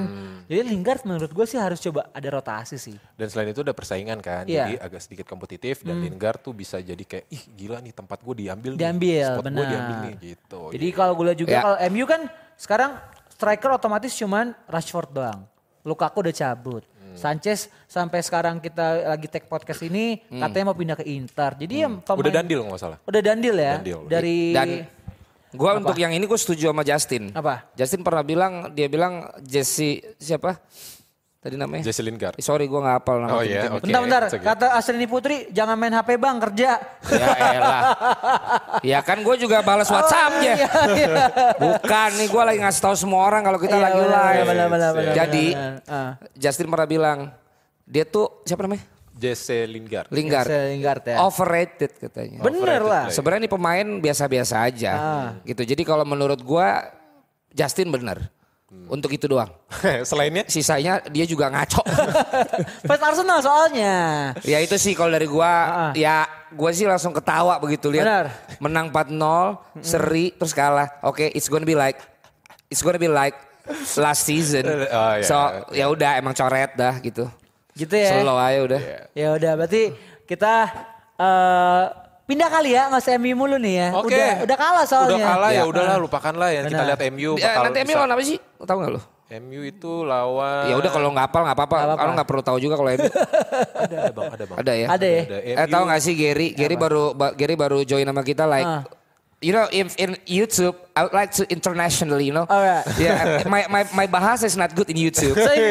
[SPEAKER 2] Jadi Lingard menurut gue sih harus coba ada rotasi sih.
[SPEAKER 3] Dan selain itu ada persaingan kan,
[SPEAKER 2] Iya.
[SPEAKER 3] jadi agak sedikit kompetitif dan Lingard tuh bisa jadi kayak ih gila nih tempat gue diambil, nih,
[SPEAKER 2] diambil
[SPEAKER 3] spot
[SPEAKER 2] benar.
[SPEAKER 3] gue diambil nih gitu.
[SPEAKER 2] Jadi kalau gue lihat juga
[SPEAKER 4] Ya.
[SPEAKER 2] kalau MU kan sekarang striker otomatis cuman Rashford doang. Lukaku udah cabut.
[SPEAKER 3] Hmm.
[SPEAKER 2] Sanchez sampai sekarang kita lagi take podcast ini katanya mau pindah ke Inter. Jadi ya pemain-
[SPEAKER 3] Hmm. udah dandil nggak salah.
[SPEAKER 2] Udah dandil ya.
[SPEAKER 3] Dandil. Iya.
[SPEAKER 2] Dari
[SPEAKER 4] Dan gue untuk yang ini gue setuju sama Justin.
[SPEAKER 2] Apa?
[SPEAKER 4] Justin pernah bilang dia bilang Jesse siapa? Tadi namanya?
[SPEAKER 3] Jesse Lingard.
[SPEAKER 4] Eh, Sorry gue nggak hafal nama.
[SPEAKER 3] Oh iya,
[SPEAKER 4] tim-tim.
[SPEAKER 3] oke.
[SPEAKER 2] bentar bentar
[SPEAKER 3] it's okay.
[SPEAKER 2] kata Astrini Putri jangan main HP Bang kerja.
[SPEAKER 4] Ya elah. ya kan gue juga balas WhatsApp ya.
[SPEAKER 2] Iya, iya.
[SPEAKER 4] Bukan nih gue lagi ngasih tahu semua orang kalau kita
[SPEAKER 2] Iya,
[SPEAKER 4] lagi
[SPEAKER 2] benar,
[SPEAKER 4] live.
[SPEAKER 2] benar, benar, benar,
[SPEAKER 4] Jadi
[SPEAKER 2] benar, benar. Ah.
[SPEAKER 4] Justin pernah bilang dia tuh siapa namanya?
[SPEAKER 3] Jesse Lingard.
[SPEAKER 4] Lingard.
[SPEAKER 2] Jesse Lingard, ya.
[SPEAKER 4] Overrated katanya.
[SPEAKER 2] Bener lah.
[SPEAKER 3] Overrated
[SPEAKER 4] Sebenarnya ini pemain biasa-biasa aja.
[SPEAKER 2] Ah.
[SPEAKER 4] Gitu. Jadi kalau menurut gua Justin bener.
[SPEAKER 3] Hmm.
[SPEAKER 4] Untuk itu doang.
[SPEAKER 3] player. Selainnya
[SPEAKER 4] Sisanya dia juga ngaco.
[SPEAKER 2] Fans Arsenal soalnya.
[SPEAKER 4] ya itu sih kalau dari gua ya gua sih langsung ketawa begitu lihat
[SPEAKER 2] Benar.
[SPEAKER 4] menang 4-0, seri terus kalah. Oke, it's gonna be like it's gonna be like last season.
[SPEAKER 3] Oh, iya.
[SPEAKER 4] So ya udah emang coret dah gitu.
[SPEAKER 2] Gitu ya.
[SPEAKER 4] Slow aja udah.
[SPEAKER 3] Iya.
[SPEAKER 2] Ya udah berarti kita eh, pindah kali ya nggak usah MU mulu nih ya.
[SPEAKER 3] Oke.
[SPEAKER 2] Udah udah kalah soalnya.
[SPEAKER 3] Udah kalah ya,
[SPEAKER 2] Ah.
[SPEAKER 3] udahlah lupakanlah ya. Kita
[SPEAKER 2] Benar.
[SPEAKER 3] lihat MU
[SPEAKER 4] Eh,
[SPEAKER 3] bakal
[SPEAKER 4] nanti Emil
[SPEAKER 3] bisa-
[SPEAKER 4] lawan apa sih? Tahu nggak lu?
[SPEAKER 3] MU itu lawan
[SPEAKER 4] Ya udah kalau nggak hafal nggak apa-apa.
[SPEAKER 2] Eh, Nggak apa-apa.
[SPEAKER 4] Kalau nggak perlu tahu juga kalau Emil.
[SPEAKER 3] ada ada Bang, ada Bang.
[SPEAKER 4] Ada ya?
[SPEAKER 2] Ada ya?
[SPEAKER 3] Ada.
[SPEAKER 4] Eh tahu gak sih Gary? Gary baru ba- Gary baru join sama kita like
[SPEAKER 2] Ah.
[SPEAKER 4] You know, if in YouTube, I would like to internationally, you know.
[SPEAKER 2] Alright.
[SPEAKER 4] Yeah, my my my bahasa is not good in YouTube
[SPEAKER 2] So,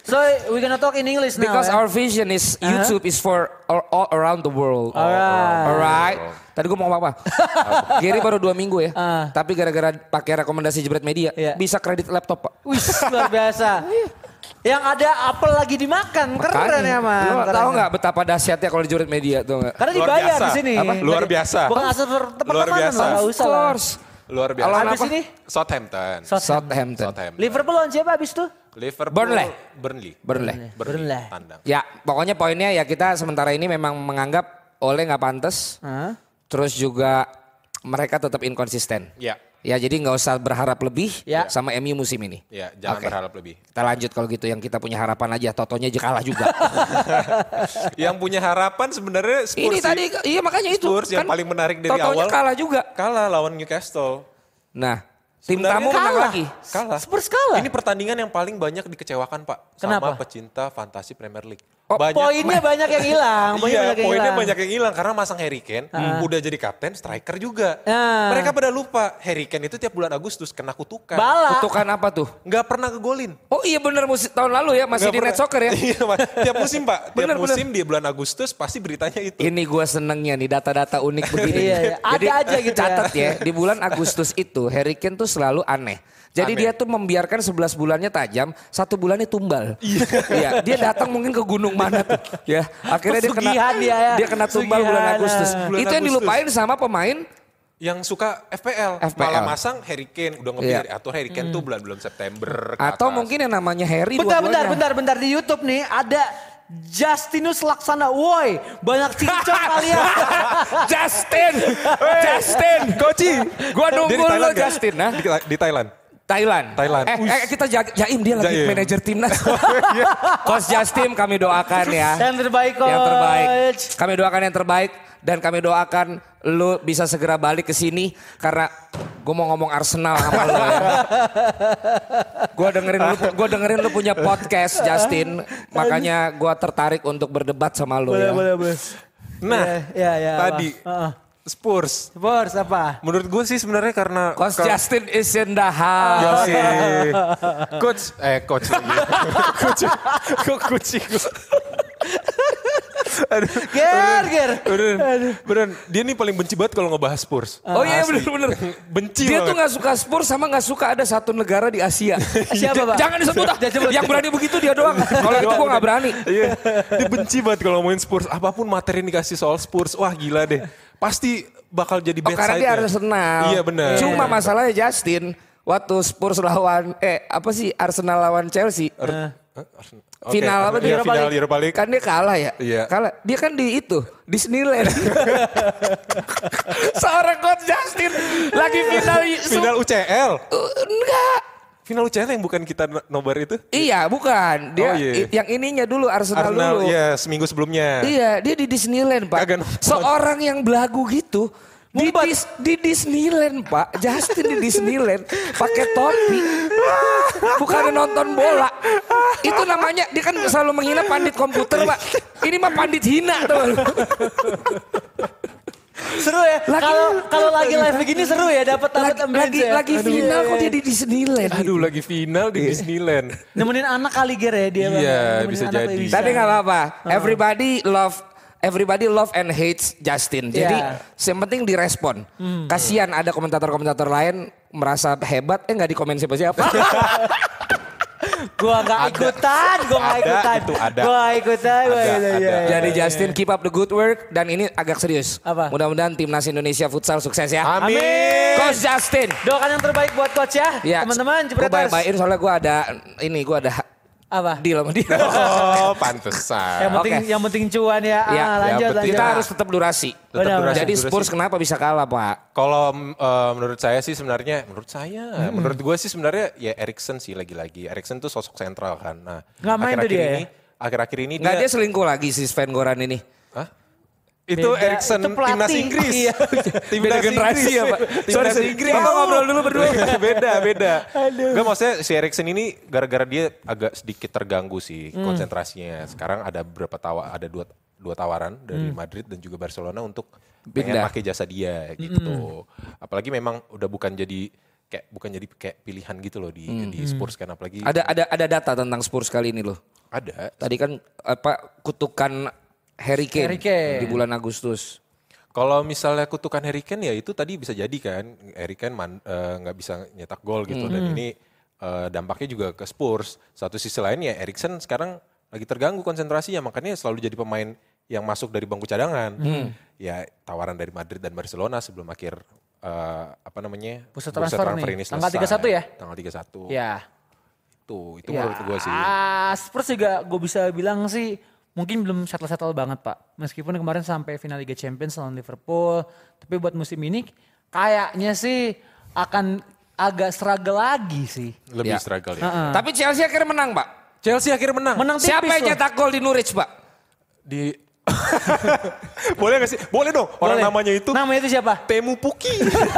[SPEAKER 2] so we gonna talk in English now.
[SPEAKER 4] because
[SPEAKER 2] ya?
[SPEAKER 4] our vision is YouTube is for all, all around the world.
[SPEAKER 2] Alright.
[SPEAKER 4] Alright. Tadi gue mau ngomong apa? Gary baru dua minggu ya,
[SPEAKER 2] Ah.
[SPEAKER 4] tapi gara-gara pakai rekomendasi jebret media
[SPEAKER 2] Iya.
[SPEAKER 4] bisa kredit laptop pak.
[SPEAKER 2] Wih, luar biasa. Yang ada apel lagi dimakan, keren ya
[SPEAKER 4] Lu
[SPEAKER 2] man. Keren.
[SPEAKER 4] Tahu nggak betapa dahsyatnya kalau jebret media tuh nggak?
[SPEAKER 2] Karena
[SPEAKER 3] Luar
[SPEAKER 2] dibayar
[SPEAKER 3] biasa.
[SPEAKER 2] di sini.
[SPEAKER 3] Apa? Luar biasa.
[SPEAKER 2] Bukan asal per-
[SPEAKER 3] Luar
[SPEAKER 2] pertemanan
[SPEAKER 3] biasa.
[SPEAKER 2] loh, nggak
[SPEAKER 4] Of
[SPEAKER 2] usah lah.
[SPEAKER 4] course.
[SPEAKER 3] Luar biasa.
[SPEAKER 4] Lawan
[SPEAKER 2] Habis
[SPEAKER 4] apa?
[SPEAKER 2] ini
[SPEAKER 3] Southampton.
[SPEAKER 4] Southampton.
[SPEAKER 3] Southampton.
[SPEAKER 2] Liverpool lawan siapa abis itu?
[SPEAKER 3] Liverpool.
[SPEAKER 4] Burnley.
[SPEAKER 3] Burnley.
[SPEAKER 4] Burnley.
[SPEAKER 2] Burnley.
[SPEAKER 3] Tandang.
[SPEAKER 4] Ya, pokoknya poinnya ya kita sementara ini memang menganggap oleh nggak pantas.
[SPEAKER 2] Hah?
[SPEAKER 4] Terus juga mereka tetap inkonsisten.
[SPEAKER 3] Ya.
[SPEAKER 4] Ya, jadi nggak usah berharap lebih
[SPEAKER 2] Ya.
[SPEAKER 4] sama MU musim ini.
[SPEAKER 3] Ya, jangan
[SPEAKER 4] Oke.
[SPEAKER 3] berharap lebih.
[SPEAKER 4] Kita lanjut kalau gitu yang kita punya harapan aja. Totonya aja kalah juga.
[SPEAKER 3] Yang punya harapan sebenarnya Spurs.
[SPEAKER 4] ini
[SPEAKER 3] sih.
[SPEAKER 4] tadi, iya makanya itu.
[SPEAKER 3] Spurs yang paling menarik dari
[SPEAKER 4] Totonya
[SPEAKER 3] awal.
[SPEAKER 4] kalah juga.
[SPEAKER 3] Kalah lawan Newcastle.
[SPEAKER 4] Nah, tim
[SPEAKER 3] Sebenarnya
[SPEAKER 4] tamu menang
[SPEAKER 2] kalah.
[SPEAKER 4] lagi.
[SPEAKER 3] Kalah.
[SPEAKER 2] Spurs kalah?
[SPEAKER 3] Ini pertandingan yang paling banyak dikecewakan Pak.
[SPEAKER 2] Kenapa?
[SPEAKER 3] Sama pecinta fantasi Premier League.
[SPEAKER 4] Oh,
[SPEAKER 2] Poinnya banyak yang hilang. Poinnya
[SPEAKER 3] iya,
[SPEAKER 2] banyak yang
[SPEAKER 3] poinnya
[SPEAKER 2] hilang.
[SPEAKER 3] banyak yang hilang karena masang Harry Kane
[SPEAKER 4] Ah.
[SPEAKER 3] udah jadi kapten striker juga.
[SPEAKER 2] Ah.
[SPEAKER 3] Mereka pada lupa Harry Kane itu tiap bulan Agustus kena kutukan.
[SPEAKER 2] Bala.
[SPEAKER 4] Kutukan apa tuh?
[SPEAKER 3] nggak pernah kegolin.
[SPEAKER 4] Oh iya bener musim tahun lalu ya masih
[SPEAKER 3] Nggak
[SPEAKER 4] di
[SPEAKER 3] pernah.
[SPEAKER 4] net soccer ya.
[SPEAKER 3] Iya, Pak. tiap musim Pak, tiap
[SPEAKER 4] Bener, bener.
[SPEAKER 3] musim di bulan Agustus pasti beritanya itu.
[SPEAKER 4] Ini gua senengnya nih data-data unik begini.
[SPEAKER 2] Iya, iya. Ada
[SPEAKER 4] Jadi,
[SPEAKER 2] aja gitu ya.
[SPEAKER 4] Catat ya, di bulan Agustus itu Harry Kane tuh selalu aneh. Jadi
[SPEAKER 3] Aneh.
[SPEAKER 4] dia tuh membiarkan 11 bulannya tajam, satu bulannya tumbal. Iya, dia datang mungkin ke gunung mana tuh. Ya, akhirnya dia kena
[SPEAKER 2] Pesugihan dia ya.
[SPEAKER 4] dia kena tumbal bulan
[SPEAKER 2] Pesugihan. eh.
[SPEAKER 4] Agustus.
[SPEAKER 3] Bulan
[SPEAKER 4] itu yang
[SPEAKER 3] Agustus.
[SPEAKER 4] dilupain sama pemain
[SPEAKER 3] Yang suka FPL,
[SPEAKER 4] FPL.
[SPEAKER 3] malah masang Harry Kane udah ngebiar
[SPEAKER 4] Iya.
[SPEAKER 3] atur Harry Kane tuh bulan-bulan September ke
[SPEAKER 4] atau
[SPEAKER 3] atas.
[SPEAKER 4] mungkin yang namanya Harry
[SPEAKER 2] Bentar, bentar,
[SPEAKER 4] dua-duanya.
[SPEAKER 2] bentar, bentar di YouTube nih ada Justinus Laksana. Woi, banyak cincong kalian.
[SPEAKER 4] Justin, Justin, Koci, gua
[SPEAKER 3] Dia
[SPEAKER 4] nunggu
[SPEAKER 3] di
[SPEAKER 4] lo
[SPEAKER 3] Thailand kan? nggak?
[SPEAKER 4] Justin, nah.
[SPEAKER 3] Di, di Thailand.
[SPEAKER 4] Thailand.
[SPEAKER 3] Thailand.
[SPEAKER 4] Eh, eh, kita ja- jaim dia lagi
[SPEAKER 3] Jaim.
[SPEAKER 4] manajer timnas. Iya. Coach Justin kami doakan ya.
[SPEAKER 2] Yang terbaik,
[SPEAKER 4] Yang terbaik.
[SPEAKER 2] Coach.
[SPEAKER 4] Kami doakan yang terbaik dan kami doakan lu bisa segera balik ke sini karena gue mau ngomong Arsenal sama lu. ya. Gue dengerin lu, gue dengerin lu punya podcast Justin, makanya gue tertarik untuk berdebat sama lu
[SPEAKER 2] boleh,
[SPEAKER 4] ya.
[SPEAKER 2] boleh, boleh.
[SPEAKER 3] Nah,
[SPEAKER 2] ya, ya,
[SPEAKER 3] tadi
[SPEAKER 2] apa? Heeh.
[SPEAKER 3] Spurs.
[SPEAKER 2] Spurs apa?
[SPEAKER 3] Menurut gue sih sebenarnya karena
[SPEAKER 4] Coach
[SPEAKER 3] kalau-
[SPEAKER 4] Justin is in the house.
[SPEAKER 3] Yosi. Coach, eh coach lagi. coach, kok kucing gua. Aduh,
[SPEAKER 2] Ger, ger.
[SPEAKER 3] beneran, beneran. Dia nih paling benci banget kalau ngebahas Spurs.
[SPEAKER 4] Oh iya
[SPEAKER 3] Asli.
[SPEAKER 4] bener-bener.
[SPEAKER 3] Benci
[SPEAKER 4] Dia tuh
[SPEAKER 3] banget.
[SPEAKER 4] gak suka Spurs sama gak suka ada satu negara di Asia.
[SPEAKER 3] Iya.
[SPEAKER 2] Siapa, Pak?
[SPEAKER 4] Jangan disebut ah.
[SPEAKER 2] Jangan disebut.
[SPEAKER 4] Yang berani begitu dia doang. Kalau itu gue gak berani.
[SPEAKER 3] Iya, dia benci banget kalau ngomongin Spurs. Apapun materi yang dikasih soal Spurs, wah gila deh. Pasti bakal jadi
[SPEAKER 4] Oh
[SPEAKER 3] bad
[SPEAKER 4] karena dia
[SPEAKER 3] side-nya.
[SPEAKER 4] Arsenal.
[SPEAKER 3] Iya benar.
[SPEAKER 4] Cuma masalahnya Justin waktu Spurs lawan eh apa sih Arsenal lawan Chelsea
[SPEAKER 3] Hah? Eh, Arsenal. Oke,
[SPEAKER 4] final apa
[SPEAKER 3] Arsenal. Iya,
[SPEAKER 4] tuh?
[SPEAKER 3] final Europa League.
[SPEAKER 4] Kan dia kalah ya.
[SPEAKER 3] Iya.
[SPEAKER 4] Kalah. Dia kan di itu Disneyland. Seorang coach Justin lagi final.
[SPEAKER 3] Final UCL.
[SPEAKER 4] Uh, enggak.
[SPEAKER 3] Final UCL yang bukan kita no- nobar itu?
[SPEAKER 4] Iya, bukan. Dia
[SPEAKER 3] Oh, iya.
[SPEAKER 4] i- yang ininya dulu Arsenal,
[SPEAKER 3] Arsenal
[SPEAKER 4] dulu.
[SPEAKER 3] ya seminggu sebelumnya.
[SPEAKER 4] Iya, dia di Disneyland, Pak.
[SPEAKER 3] Kagak nonton.
[SPEAKER 4] Seorang yang belagu gitu. Di,
[SPEAKER 2] Mumpet.
[SPEAKER 4] Dis- di Disneyland, Pak. Justin di Disneyland pakai topi. Bukan nonton bola. Itu namanya dia kan selalu menghina pandit komputer, Pak. Ini mah pandit hina, teman.
[SPEAKER 2] Seru ya.
[SPEAKER 4] Lagi-
[SPEAKER 2] Kalau kalau lagi live begini seru ya dapat dapat
[SPEAKER 4] Lagi lagi,
[SPEAKER 2] ya.
[SPEAKER 4] lagi final kok dia di Disneyland.
[SPEAKER 3] Aduh lagi final di Disneyland.
[SPEAKER 2] Nemenin anak kali ger ya dia. Bang.
[SPEAKER 3] Iya,
[SPEAKER 2] Nemenin
[SPEAKER 3] bisa
[SPEAKER 2] anak
[SPEAKER 3] jadi.
[SPEAKER 4] Tapi nggak apa-apa. Everybody love Everybody love and hates Justin. Jadi
[SPEAKER 2] Yeah.
[SPEAKER 4] yang penting direspon. Kasihan ada komentator-komentator lain merasa hebat eh nggak dikomen siapa-siapa.
[SPEAKER 2] Gua nggak ikutan, gua nggak
[SPEAKER 3] Ada,
[SPEAKER 2] ikutan.
[SPEAKER 3] itu ada.
[SPEAKER 2] Gua nggak ikutan, gua
[SPEAKER 3] Ada,
[SPEAKER 2] nggak ikutan.
[SPEAKER 3] ada.
[SPEAKER 2] Iya, iya.
[SPEAKER 4] Jadi Justin keep up the good work dan ini agak serius.
[SPEAKER 2] Apa?
[SPEAKER 4] Mudah-mudahan timnas Indonesia futsal sukses ya.
[SPEAKER 3] Amin.
[SPEAKER 2] Amin.
[SPEAKER 4] Coach Justin.
[SPEAKER 2] Doakan yang terbaik buat coach ya.
[SPEAKER 4] Iya.
[SPEAKER 2] Teman-teman,
[SPEAKER 4] gue
[SPEAKER 2] jepret
[SPEAKER 4] baik-baikin soalnya gue ada ini gue ada
[SPEAKER 2] Apa?
[SPEAKER 4] deal sama dia.
[SPEAKER 2] iya.
[SPEAKER 3] Oh
[SPEAKER 2] Yang
[SPEAKER 3] pantesan.
[SPEAKER 2] penting
[SPEAKER 4] Oke.
[SPEAKER 2] yang penting cuan ya.
[SPEAKER 4] Iya,
[SPEAKER 2] ah,
[SPEAKER 4] yang
[SPEAKER 2] lanjut,
[SPEAKER 3] penting.
[SPEAKER 2] lanjut.
[SPEAKER 4] Kita harus tetap durasi.
[SPEAKER 3] Tetap
[SPEAKER 2] Benar,
[SPEAKER 3] durasi,
[SPEAKER 4] Jadi
[SPEAKER 3] durasi.
[SPEAKER 4] Spurs kenapa bisa kalah Pak?
[SPEAKER 3] Kalau eh, menurut saya sih sebenarnya, menurut saya,
[SPEAKER 2] Hmm.
[SPEAKER 3] menurut gue sih sebenarnya ya Erikson sih lagi-lagi. Erikson tuh sosok sentral kan. Nah,
[SPEAKER 2] Nggak main tuh
[SPEAKER 3] akhir-akhir
[SPEAKER 2] dia ya?
[SPEAKER 3] ini, akhir-akhir ini
[SPEAKER 4] Nggak
[SPEAKER 2] Iya.
[SPEAKER 3] dia,
[SPEAKER 4] dia selingkuh lagi si Sven Goran ini.
[SPEAKER 3] Hah? Itu
[SPEAKER 2] Beda,
[SPEAKER 3] Erikson
[SPEAKER 2] itu pelatih.
[SPEAKER 3] timnas Inggris.
[SPEAKER 2] Iya.
[SPEAKER 4] Beda generasi ya, Pak? Sorry, sorry. Kita ngobrol
[SPEAKER 3] dulu berdua. beda, beda. Enggak maksudnya si Erikson ini gara-gara dia agak sedikit terganggu sih
[SPEAKER 4] Hmm.
[SPEAKER 3] konsentrasinya. Sekarang ada berapa tawa ada dua dua tawaran dari
[SPEAKER 4] Hmm.
[SPEAKER 3] Madrid dan juga Barcelona untuk pengen
[SPEAKER 4] Pindah.
[SPEAKER 3] pakai jasa dia gitu.
[SPEAKER 4] Hmm.
[SPEAKER 3] Apalagi memang udah bukan jadi kayak bukan jadi kayak pilihan gitu loh di di
[SPEAKER 4] Hmm.
[SPEAKER 3] Spurs kan apalagi
[SPEAKER 4] Ada ada ada data tentang Spurs kali ini loh.
[SPEAKER 3] ada
[SPEAKER 4] Tadi kan apa kutukan Harry Kane,
[SPEAKER 2] Harry Kane.
[SPEAKER 4] di bulan Agustus.
[SPEAKER 3] Kalau misalnya kutukan Harry Kane ya itu tadi bisa jadi kan Harry Kane man- eh, nggak bisa nyetak gol gitu dan
[SPEAKER 2] Mm-hmm.
[SPEAKER 3] ini eh, dampaknya juga ke Spurs. Satu sisi lain ya Erikson sekarang lagi terganggu konsentrasinya makanya selalu jadi pemain yang masuk dari bangku cadangan.
[SPEAKER 2] Mm.
[SPEAKER 3] Ya tawaran dari Madrid dan Barcelona sebelum akhir eh, apa namanya?
[SPEAKER 2] Bursa
[SPEAKER 3] bursa
[SPEAKER 2] transfer nih, tanggal 31 ya?
[SPEAKER 3] Tanggal 31.
[SPEAKER 4] Iya.
[SPEAKER 2] Ya.
[SPEAKER 3] Tuh, itu
[SPEAKER 2] Ya,
[SPEAKER 3] menurut gue sih.
[SPEAKER 2] ah, Spurs juga gue bisa bilang sih mungkin belum settle-settle banget pak. Meskipun kemarin sampai final Liga Champions lawan Liverpool. Tapi buat musim ini kayaknya sih akan agak struggle lagi sih.
[SPEAKER 3] Lebih
[SPEAKER 4] Ya.
[SPEAKER 3] struggle ya.
[SPEAKER 4] Tapi Chelsea akhirnya menang, Pak.
[SPEAKER 3] Chelsea akhirnya menang.
[SPEAKER 2] Menang Ah. Kan tipis
[SPEAKER 4] Siapa yang
[SPEAKER 2] loh.
[SPEAKER 4] cetak gol di Norwich, Pak?
[SPEAKER 3] di Boleh gak sih? Boleh dong.
[SPEAKER 2] Boleh.
[SPEAKER 3] Orang
[SPEAKER 2] Nah,
[SPEAKER 3] namanya itu
[SPEAKER 2] Namanya itu siapa?
[SPEAKER 3] Temu Puki.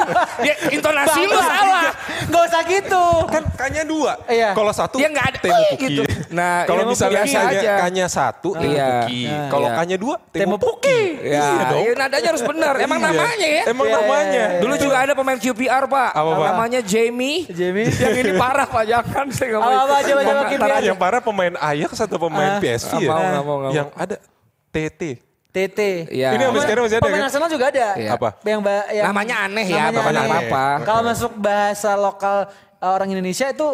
[SPEAKER 4] Dia intonasi lu salah.
[SPEAKER 2] Gak usah gitu.
[SPEAKER 3] kan kanya dua.
[SPEAKER 2] Iya.
[SPEAKER 3] Kalau satu
[SPEAKER 4] Dia nggak ada,
[SPEAKER 3] Temu
[SPEAKER 4] "Oi!"
[SPEAKER 3] Puki.
[SPEAKER 4] gitu. Nah,
[SPEAKER 3] kalau
[SPEAKER 4] Temu
[SPEAKER 3] misalnya
[SPEAKER 4] Puki
[SPEAKER 3] kanya,
[SPEAKER 4] aja.
[SPEAKER 3] kanya satu Temu
[SPEAKER 4] Iya.
[SPEAKER 3] Puki.
[SPEAKER 4] Nah,
[SPEAKER 3] kalau
[SPEAKER 4] iya.
[SPEAKER 3] kanya dua Temu,
[SPEAKER 2] Temu
[SPEAKER 3] Puki. Iya
[SPEAKER 4] Ya,
[SPEAKER 3] dong.
[SPEAKER 4] ya nadanya harus benar. Emang
[SPEAKER 3] Iya.
[SPEAKER 4] namanya ya.
[SPEAKER 3] Emang
[SPEAKER 2] Iya,
[SPEAKER 3] namanya.
[SPEAKER 2] iya, iya.
[SPEAKER 4] Dulu juga ada pemain QPR, Pak.
[SPEAKER 3] Apa, Pak?
[SPEAKER 4] Namanya Jamie.
[SPEAKER 2] Jamie.
[SPEAKER 4] yang ini parah, Pak. Jangan saya nggak mau.
[SPEAKER 2] Apa, apa, coba, coba,
[SPEAKER 4] Ntar
[SPEAKER 2] QPR.
[SPEAKER 4] aja.
[SPEAKER 3] yang parah pemain Ajax atau pemain
[SPEAKER 4] nggak
[SPEAKER 3] PSV ya.
[SPEAKER 4] mau, nggak mau, nggak mau.
[SPEAKER 3] Yang ada TT.
[SPEAKER 2] TT.
[SPEAKER 4] Iya.
[SPEAKER 3] Ini sampai sekarang masih ada
[SPEAKER 2] Pemain
[SPEAKER 3] kan?
[SPEAKER 2] Arsenal juga ada.
[SPEAKER 4] Iya.
[SPEAKER 3] Apa?
[SPEAKER 2] Yang ba- yang-
[SPEAKER 4] Namanya aneh ya,
[SPEAKER 2] namanya
[SPEAKER 4] namanya
[SPEAKER 2] aneh.
[SPEAKER 4] apa-apa.
[SPEAKER 2] Kalau masuk bahasa lokal uh, orang Indonesia itu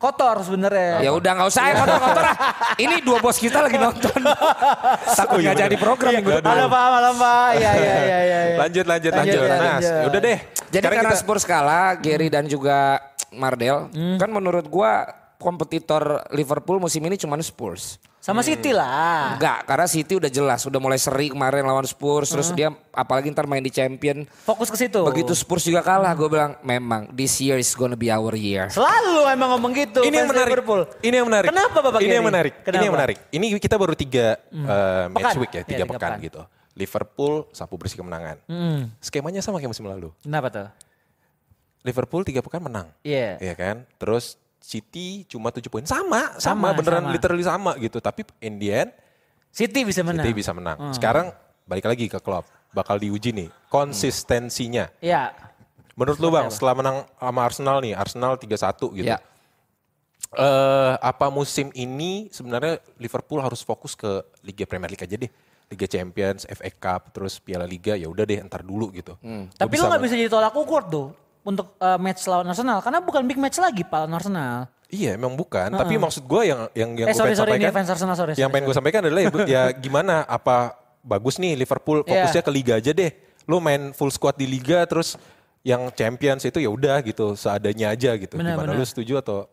[SPEAKER 2] kotor sebenarnya.
[SPEAKER 4] Ya udah nggak usah ya kotor-kotor ah. Ini dua bos kita lagi nonton. Takut
[SPEAKER 3] Oh, iya
[SPEAKER 4] nggak jadi
[SPEAKER 3] bener.
[SPEAKER 4] program minggu depan.
[SPEAKER 2] Halo Pak, malam Pak. Iya, iya, iya, iya. iya.
[SPEAKER 3] Lanjut, lanjut,
[SPEAKER 2] Lanjut,
[SPEAKER 3] lanjut.
[SPEAKER 2] ya,
[SPEAKER 3] Nah,
[SPEAKER 2] lanjut.
[SPEAKER 3] udah deh.
[SPEAKER 4] Jadi
[SPEAKER 3] Sekarang
[SPEAKER 4] karena
[SPEAKER 3] kita- Hmm.
[SPEAKER 4] Spurs kalah, Gary dan juga Mardel, kan menurut gua kompetitor Liverpool musim ini cuma Spurs.
[SPEAKER 2] Sama Siti lah.
[SPEAKER 4] Enggak, karena City udah jelas, udah mulai seri kemarin lawan Spurs, terus
[SPEAKER 3] Hmm.
[SPEAKER 4] dia apalagi ntar main di Champion.
[SPEAKER 2] Fokus ke situ.
[SPEAKER 4] Begitu Spurs juga kalah, gue bilang memang this year is gonna be our year.
[SPEAKER 2] Selalu emang ngomong gitu.
[SPEAKER 3] Ini yang
[SPEAKER 2] fans
[SPEAKER 3] menarik.
[SPEAKER 2] Liverpool.
[SPEAKER 3] Ini yang menarik.
[SPEAKER 2] Kenapa Bapak
[SPEAKER 3] Ini yang
[SPEAKER 2] Gary?
[SPEAKER 3] menarik. Ini yang
[SPEAKER 2] Kenapa? Hmm.
[SPEAKER 3] menarik. Ini kita baru tiga eh, match
[SPEAKER 2] Pekan.
[SPEAKER 3] week ya, tiga
[SPEAKER 2] Iya, tiga
[SPEAKER 3] pekan
[SPEAKER 2] pekan. Hmm.
[SPEAKER 3] gitu. Liverpool sapu bersih kemenangan. Skemanya sama kayak musim lalu.
[SPEAKER 2] Kenapa tuh?
[SPEAKER 3] Liverpool tiga pekan menang.
[SPEAKER 2] Iya.
[SPEAKER 3] Iya kan? Terus City cuma 7 poin. Sama, sama,
[SPEAKER 2] Sama,
[SPEAKER 3] beneran
[SPEAKER 2] sama.
[SPEAKER 3] literally sama gitu. Tapi in the end
[SPEAKER 2] City bisa menang. Hmm.
[SPEAKER 3] City bisa menang. Sekarang balik lagi ke Klopp. Bakal diuji nih konsistensinya.
[SPEAKER 2] Iya.
[SPEAKER 3] Menurut
[SPEAKER 2] ya,
[SPEAKER 3] lu Bang, setelah menang sama Arsenal nih, Arsenal 3-1 gitu.
[SPEAKER 4] Ya.
[SPEAKER 3] eh apa musim ini sebenarnya Liverpool harus fokus ke Liga Premier League aja deh. Liga Champions, FA Cup, terus Piala Liga ya udah deh ntar dulu gitu. Gua
[SPEAKER 2] Hmm. Tapi lo nggak
[SPEAKER 3] men-
[SPEAKER 2] bisa jadi tolak ukur tuh untuk uh, match lawan Arsenal karena bukan big match lagi Pak lawan Arsenal.
[SPEAKER 3] Iya emang bukan, tapi maksud gue yang yang yang
[SPEAKER 2] Ah. Eh, sorry,
[SPEAKER 3] gue pengen
[SPEAKER 2] sorry, ini
[SPEAKER 3] sampaikan,
[SPEAKER 2] fans Arsenal, sorry,
[SPEAKER 3] yang
[SPEAKER 2] sorry,
[SPEAKER 3] pengen gue sampaikan adalah ya, ya gimana apa bagus nih Liverpool fokusnya
[SPEAKER 2] Iya.
[SPEAKER 3] ke Liga aja deh. lu main full squad di liga terus yang champions itu ya udah gitu seadanya aja gitu.
[SPEAKER 2] Benar,
[SPEAKER 3] Gimana
[SPEAKER 2] benar.
[SPEAKER 3] lu setuju atau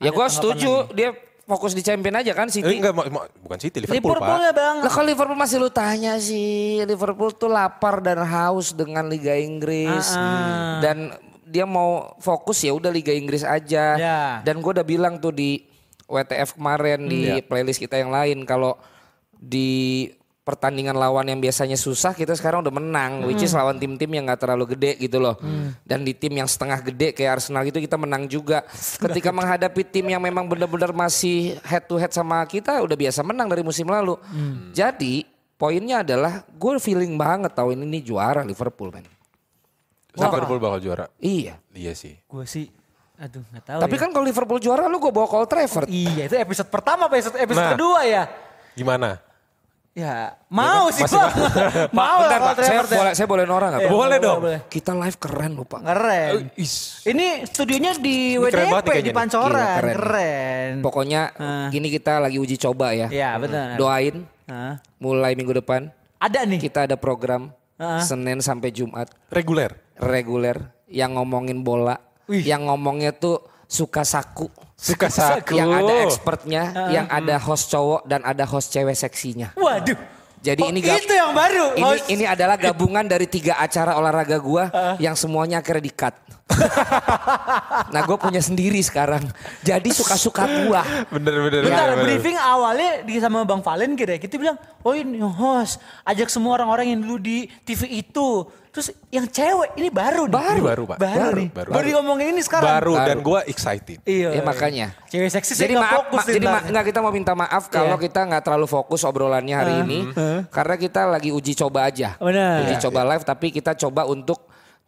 [SPEAKER 4] Ya gue
[SPEAKER 2] Ada tanggapan
[SPEAKER 4] setuju dia fokus di champion aja kan
[SPEAKER 3] eh,
[SPEAKER 4] City.
[SPEAKER 3] enggak mau- mau- bukan City Liverpool,
[SPEAKER 2] Liverpool
[SPEAKER 3] Pak.
[SPEAKER 2] ya bang.
[SPEAKER 4] Lah kalau Liverpool masih lu tanya sih, Liverpool tuh lapar dan haus dengan Liga Inggris
[SPEAKER 2] Ah.
[SPEAKER 4] dan dia mau fokus ya udah Liga Inggris aja.
[SPEAKER 2] Ya.
[SPEAKER 4] Dan gue udah bilang tuh di WTF kemarin di playlist kita yang lain kalau di pertandingan lawan yang biasanya susah kita sekarang udah menang which is lawan tim-tim yang gak terlalu gede gitu loh dan di tim yang setengah gede kayak Arsenal itu kita menang juga ketika menghadapi tim yang memang benar-benar masih head to head sama kita udah biasa menang dari musim lalu jadi poinnya adalah gue feeling banget tahun ini juara Liverpool men
[SPEAKER 3] Liverpool bakal juara.
[SPEAKER 4] iya
[SPEAKER 3] Iya sih.
[SPEAKER 2] Gue sih, aduh nggak tahu.
[SPEAKER 4] tapi
[SPEAKER 2] ya.
[SPEAKER 4] kan kalau Liverpool juara lu gue bawa Cole Trafford
[SPEAKER 2] iya itu episode pertama, apa episode episode
[SPEAKER 3] kan- Nah.
[SPEAKER 2] kedua ya.
[SPEAKER 3] Gimana?
[SPEAKER 2] Ya mau sih
[SPEAKER 3] Masih
[SPEAKER 2] bang, mau lah
[SPEAKER 4] Bentar,
[SPEAKER 2] kalau
[SPEAKER 4] Pak. saya
[SPEAKER 2] Oh, Trevor.
[SPEAKER 4] boleh saya boleh norak nggak Pak?
[SPEAKER 2] Iya,
[SPEAKER 3] Boleh dong.
[SPEAKER 4] kita live keren lupa
[SPEAKER 2] Keren.
[SPEAKER 3] Eh,
[SPEAKER 2] Ini studionya di
[SPEAKER 3] Ini keren banget nih
[SPEAKER 2] WDP
[SPEAKER 3] kayaknya
[SPEAKER 2] di
[SPEAKER 3] nih.
[SPEAKER 2] Pancoran,
[SPEAKER 4] Gila, keren.
[SPEAKER 2] keren.
[SPEAKER 4] Pokoknya
[SPEAKER 2] Ah.
[SPEAKER 4] gini kita lagi uji coba ya.
[SPEAKER 2] Ya benar.
[SPEAKER 4] Doain
[SPEAKER 2] Ah.
[SPEAKER 4] mulai minggu depan
[SPEAKER 2] Ada nih.
[SPEAKER 4] kita ada program
[SPEAKER 2] Ah.
[SPEAKER 4] Senin sampai Jumat
[SPEAKER 3] Reguler.
[SPEAKER 4] reguler yang ngomongin bola,
[SPEAKER 2] Wih.
[SPEAKER 4] yang ngomongnya tuh suka saku.
[SPEAKER 3] Suka saku.
[SPEAKER 4] Yang ada expertnya, yang ada host cowok dan ada host cewek seksinya.
[SPEAKER 2] Waduh.
[SPEAKER 4] Jadi
[SPEAKER 2] Oh,
[SPEAKER 4] ini gab-
[SPEAKER 2] itu yang baru. Oh,
[SPEAKER 4] Ini
[SPEAKER 2] host.
[SPEAKER 4] ini adalah gabungan dari tiga acara olahraga gua
[SPEAKER 2] Ah.
[SPEAKER 4] yang semuanya akhirnya di cut. nah gue punya sendiri sekarang. Jadi suka-suka gua.
[SPEAKER 3] Bener bener.
[SPEAKER 2] Bentar,
[SPEAKER 3] bener, bener.
[SPEAKER 2] briefing awalnya di sama Bang Valen kira ya. Kita bilang, oh ini host, ajak semua orang-orang yang dulu di TV itu. Terus yang cewek ini baru nih.
[SPEAKER 4] Baru.
[SPEAKER 3] Ini baru, Pak.
[SPEAKER 2] Baru,
[SPEAKER 3] Baru,
[SPEAKER 2] nih.
[SPEAKER 3] baru.
[SPEAKER 2] Baru diomongin ini sekarang.
[SPEAKER 3] Baru,
[SPEAKER 4] Baru.
[SPEAKER 3] dan gue excited.
[SPEAKER 2] Iya.
[SPEAKER 4] Ya, makanya.
[SPEAKER 2] Cewek seksi saya
[SPEAKER 4] Jadi
[SPEAKER 2] nggak
[SPEAKER 4] maaf,
[SPEAKER 2] fokus
[SPEAKER 4] ma- jadi
[SPEAKER 2] ntar.
[SPEAKER 4] ma- nggak, kita mau minta maaf kalau
[SPEAKER 2] Iya. Ah.
[SPEAKER 4] kita nggak terlalu fokus obrolannya hari ini, karena kita lagi uji coba aja,
[SPEAKER 2] Benar.
[SPEAKER 4] uji
[SPEAKER 2] Iya,
[SPEAKER 4] coba live, tapi kita coba untuk